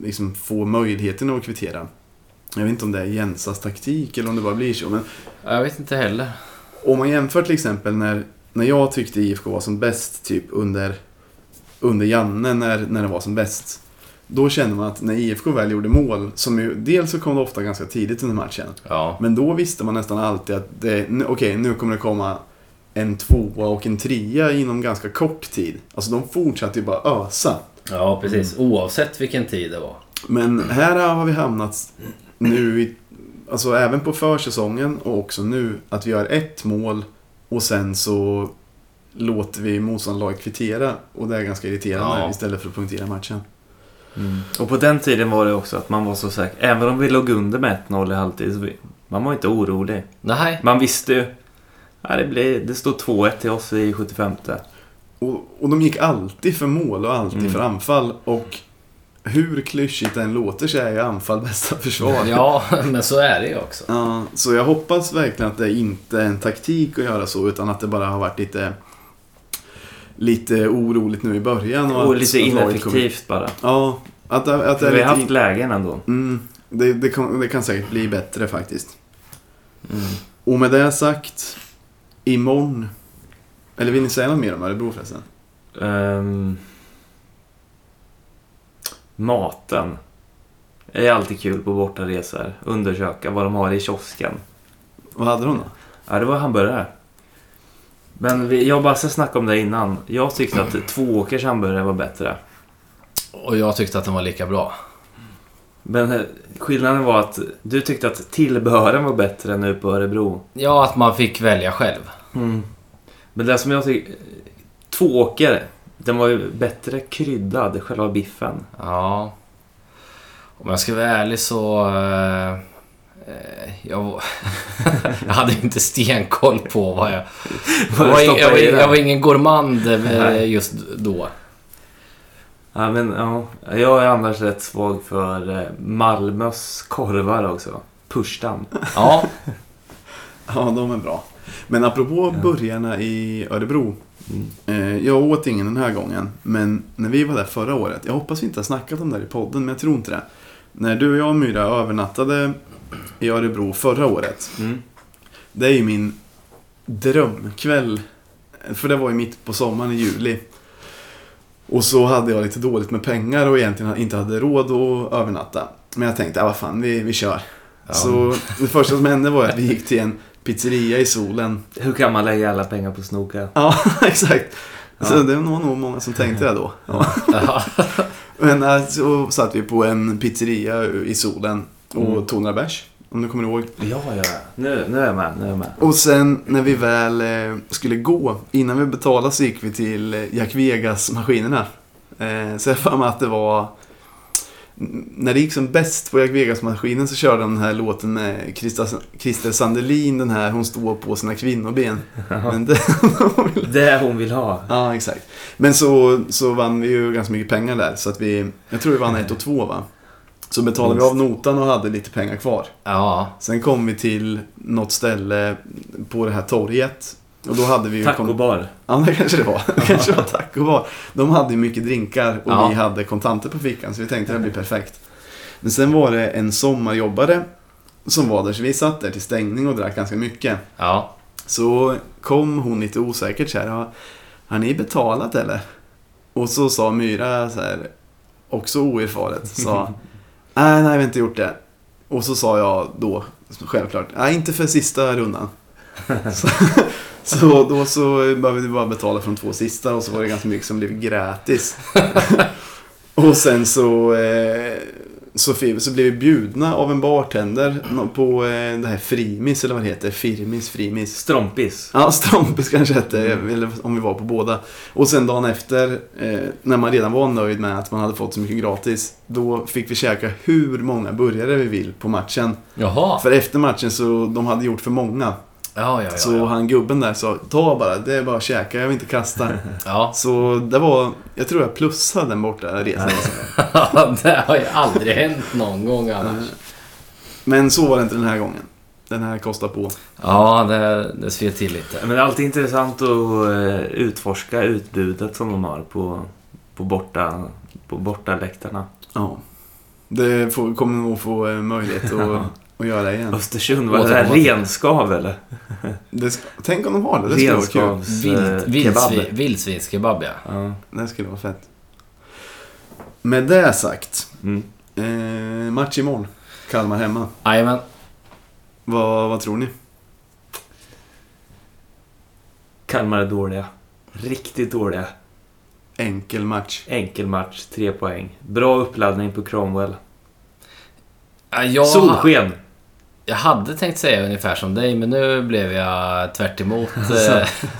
liksom få möjligheten att kvittera. Jag vet inte om det är Jensas taktik eller om det bara blir så. Men Jag vet inte heller. om man jämför till exempel när, när jag tyckte IFK var som bäst typ under, under Janne när, när det var som bäst. Då kände man att när IFK väl gjorde mål, som ju, dels så kom det ofta ganska tidigt under matchen. Ja. Men då visste man nästan alltid att det, nu- okej, nu kommer det komma en tvåa och en trea inom ganska kort tid. Alltså de fortsatte ju bara ösa. Ja, precis. Oavsett vilken tid det var. Men här har vi hamnat nu i, alltså även på försäsongen och också nu, att vi gör ett mål och sen så låter vi motståndarlaget kvittera och det är ganska irriterande Ja. istället för att punktera matchen. Och på den tiden var det också att man var så säker. Även om vi låg under med 1-0 i halvtid. Så vi, man var inte orolig. Nej. Man visste ju. Ja, det, blir, det stod 2-1 till oss i 75. Och, och de gick alltid för mål och alltid Mm. för anfall och hur klyschigt den låter så är ju anfall (laughs) bästa försvar. Ja, (laughs) men så är det ju också. Ja, så jag hoppas verkligen att det inte är en taktik att göra så utan att det bara har varit lite Lite oroligt nu i början. Och att- lite att laget kommer- ineffektivt bara. Ja, att, det- att det För är vi lite... har haft lägen ändå. mm, det, det, kan, det kan säkert bli bättre faktiskt. Mm. Och med det sagt, imorgon... Eller vill ni säga något mer om Örebro förresten? Ehm, Maten är alltid kul på bortaresor. Undersöka vad de har i kiosken. Vad hade de då? Ja, det var hamburgare. Men vi, jag och Basse snackade om det innan. Jag tyckte att Tvååkers hamburgare var bättre. Och jag tyckte att den var lika bra. Men eh, skillnaden var att du tyckte att tillbehören var bättre nu på Örebro. Ja, att man fick välja själv. Men det som jag tycker... Tvååker, den var ju bättre kryddad, själva biffen. Ja. Om jag ska vara ärlig så... eh, eh, jag, (laughs) jag hade ju inte stenkoll på vad jag... Jag var, ing- jag, var, jag var ingen gourmand eh, Nej. just då. Ja, men, ja, jag är annars rätt svag för eh, Malmös korvar också. Pushtan. Ja, (laughs) Ja, de är bra. Men apropå burgarna i Örebro. Eh, jag åt ingen den här gången, men när vi var där förra året. Jag hoppas vi inte har snackat om det här i podden, men jag tror inte det. När du och jag och Myra övernattade i Örebro förra året. Mm. Det är ju min drömkväll. För det var ju mitt på sommaren i juli. Och så hade jag lite dåligt med pengar och egentligen inte hade råd att övernatta. Men jag tänkte, ah, vad fan, vi, vi kör. Ja. Så det första som hände var att vi gick till en pizzeria i solen. Hur kan man lägga alla pengar på snoka? (laughs) Ja, exakt. Så det var nog många som tänkte det då. Ja. ja. (laughs) Men eh, så satt vi på en pizzeria i solen och tog några bärs, om du kommer ihåg. Ja, ja. Nu, nu är jag med. Nu är jag med. Och sen när vi väl eh, skulle gå, innan vi betalade så gick vi till eh, Jack Vegas-maskinerna. Eh, så jag har för mig att det var... N- När det gick som bäst på Jack Vegas-maskinen så körde de den här låten med Christa- Christer Sandelin, den här Hon står på sina kvinnoben. Men det, (laughs) Det hon vill ha. ja, exakt. Men så, så vann vi ju ganska mycket pengar där, så att vi... Jag tror vi vann ett och två va? Så betalade vi av notan och hade lite pengar kvar. ja. Sen kom vi till något ställe på det här torget. Och då hade vi ju... Tacobar. Ja, det kanske det var. Det kanske var taco bar. De hade ju mycket drinkar och Ja. vi hade kontanter på fickan så vi tänkte det här blir perfekt. Men sen var det en sommarjobbare som var där så vi satt där till stängning och drack ganska mycket. ja. Så kom hon lite osäkert så här. "Ja, Har ni betalat eller? Och så sa Myra så här, också oerfaret, sa Nej, nej, vi har inte gjort det. Och så sa jag då, självklart, nej, inte för sista rundan. så, (laughs) så då så behövde vi bara betala för de två sista och så var det ganska mycket som blev gratis. och sen så, eh, så, fi- så blev vi bjudna av en bartender nå- på eh, det här Frimis, eller vad det heter, Firmis, Frimis. Strompis. Ja, Strompis kanske hette, eller om vi var på båda. Och sen dagen efter, eh, när man redan var nöjd med att man hade fått så mycket gratis, då fick vi käka hur många burgare vi vill på matchen. Jaha. För efter matchen så, de hade gjort för många. Ja, ja, ja. Så ja. han gubben där sa, ta bara, det är bara att käka, jag vill inte (laughs) kasta. ja. så det var, jag tror jag plussade den borta resan. alltså, det har ju aldrig hänt någon gång annars. Men så var det inte den här gången. Den här kostar på. Ja, det, det sved till lite. Men det är alltid intressant att eh, utforska utbudet som de har på, på borta på bortaläktarna. Ja. Det får, kommer nog få eh, möjlighet (laughs) att, att göra igen. Östersund, var det där Återkomma till. renskav eller? Det ska, tänk om de har det, det skulle vara kul. Renskavs eh, Vilt, kebab. vildsvin- Vildsvinskebab, ja. Ja. Det skulle vara fett. Med det sagt, Mm. eh, match imorgon. Kalmar hemma. Jajamän. Vad, vad tror ni? Kalmar är dåliga. Riktigt dåliga. Enkel match. Enkel match, tre poäng. Bra uppladdning på Cromwell. Ja, jag- Solsken! Jag hade tänkt säga ungefär som dig, men nu blev jag tvärt emot eh,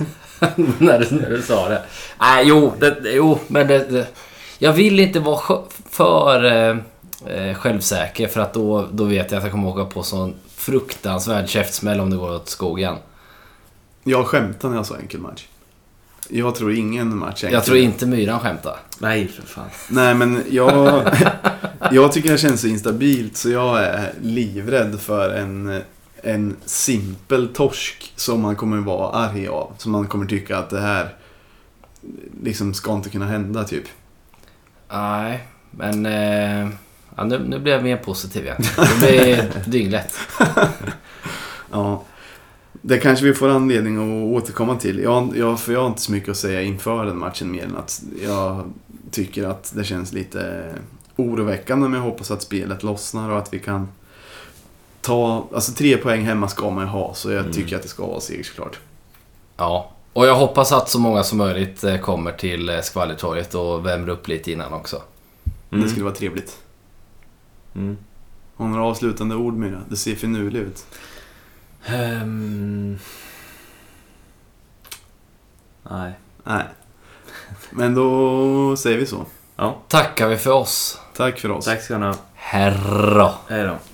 (laughs) när, du, när du sa det. Nej, jo, det, det- jo men det, det, Jag vill inte vara sjö- för eh, eh, självsäker, för att då, då vet jag att jag kommer åka på sån fruktansvärd käftsmäll om det går åt skogen. Jag skämtade när jag sa enkel match. Jag tror ingen match är enkel. Jag tror inte myran skämtar. Nej, för fan. Nej, men jag, (laughs) jag tycker det känns så instabilt så jag är livrädd för en, en simpel torsk som man kommer vara arg av. Som man kommer tycka att det här liksom ska inte kunna hända, typ. Nej, men... Eh, ja, nu, nu blev jag mer positiv igen. Det blir dynglätt. Ja. Det kanske vi får anledning att återkomma till. Jag, jag, för jag har inte så mycket att säga inför den matchen mer än att jag tycker att det känns lite oroväckande men jag hoppas att spelet lossnar och att vi kan ta... Alltså tre poäng hemma ska man ju ha så jag Mm. tycker att det ska vara segerklart. Ja. Och jag hoppas att så många som möjligt eh, kommer till eh, Skvallertorget och värmer upp lite innan också. Det skulle vara trevligt. Mm. Har du några avslutande ord Myra? Du ser finurlig ut. Ehm. Nej. Nej. Men då säger vi så. Ja, Tackar vi för oss. Tack för oss. tack ska ni ha. Herra. Hej då.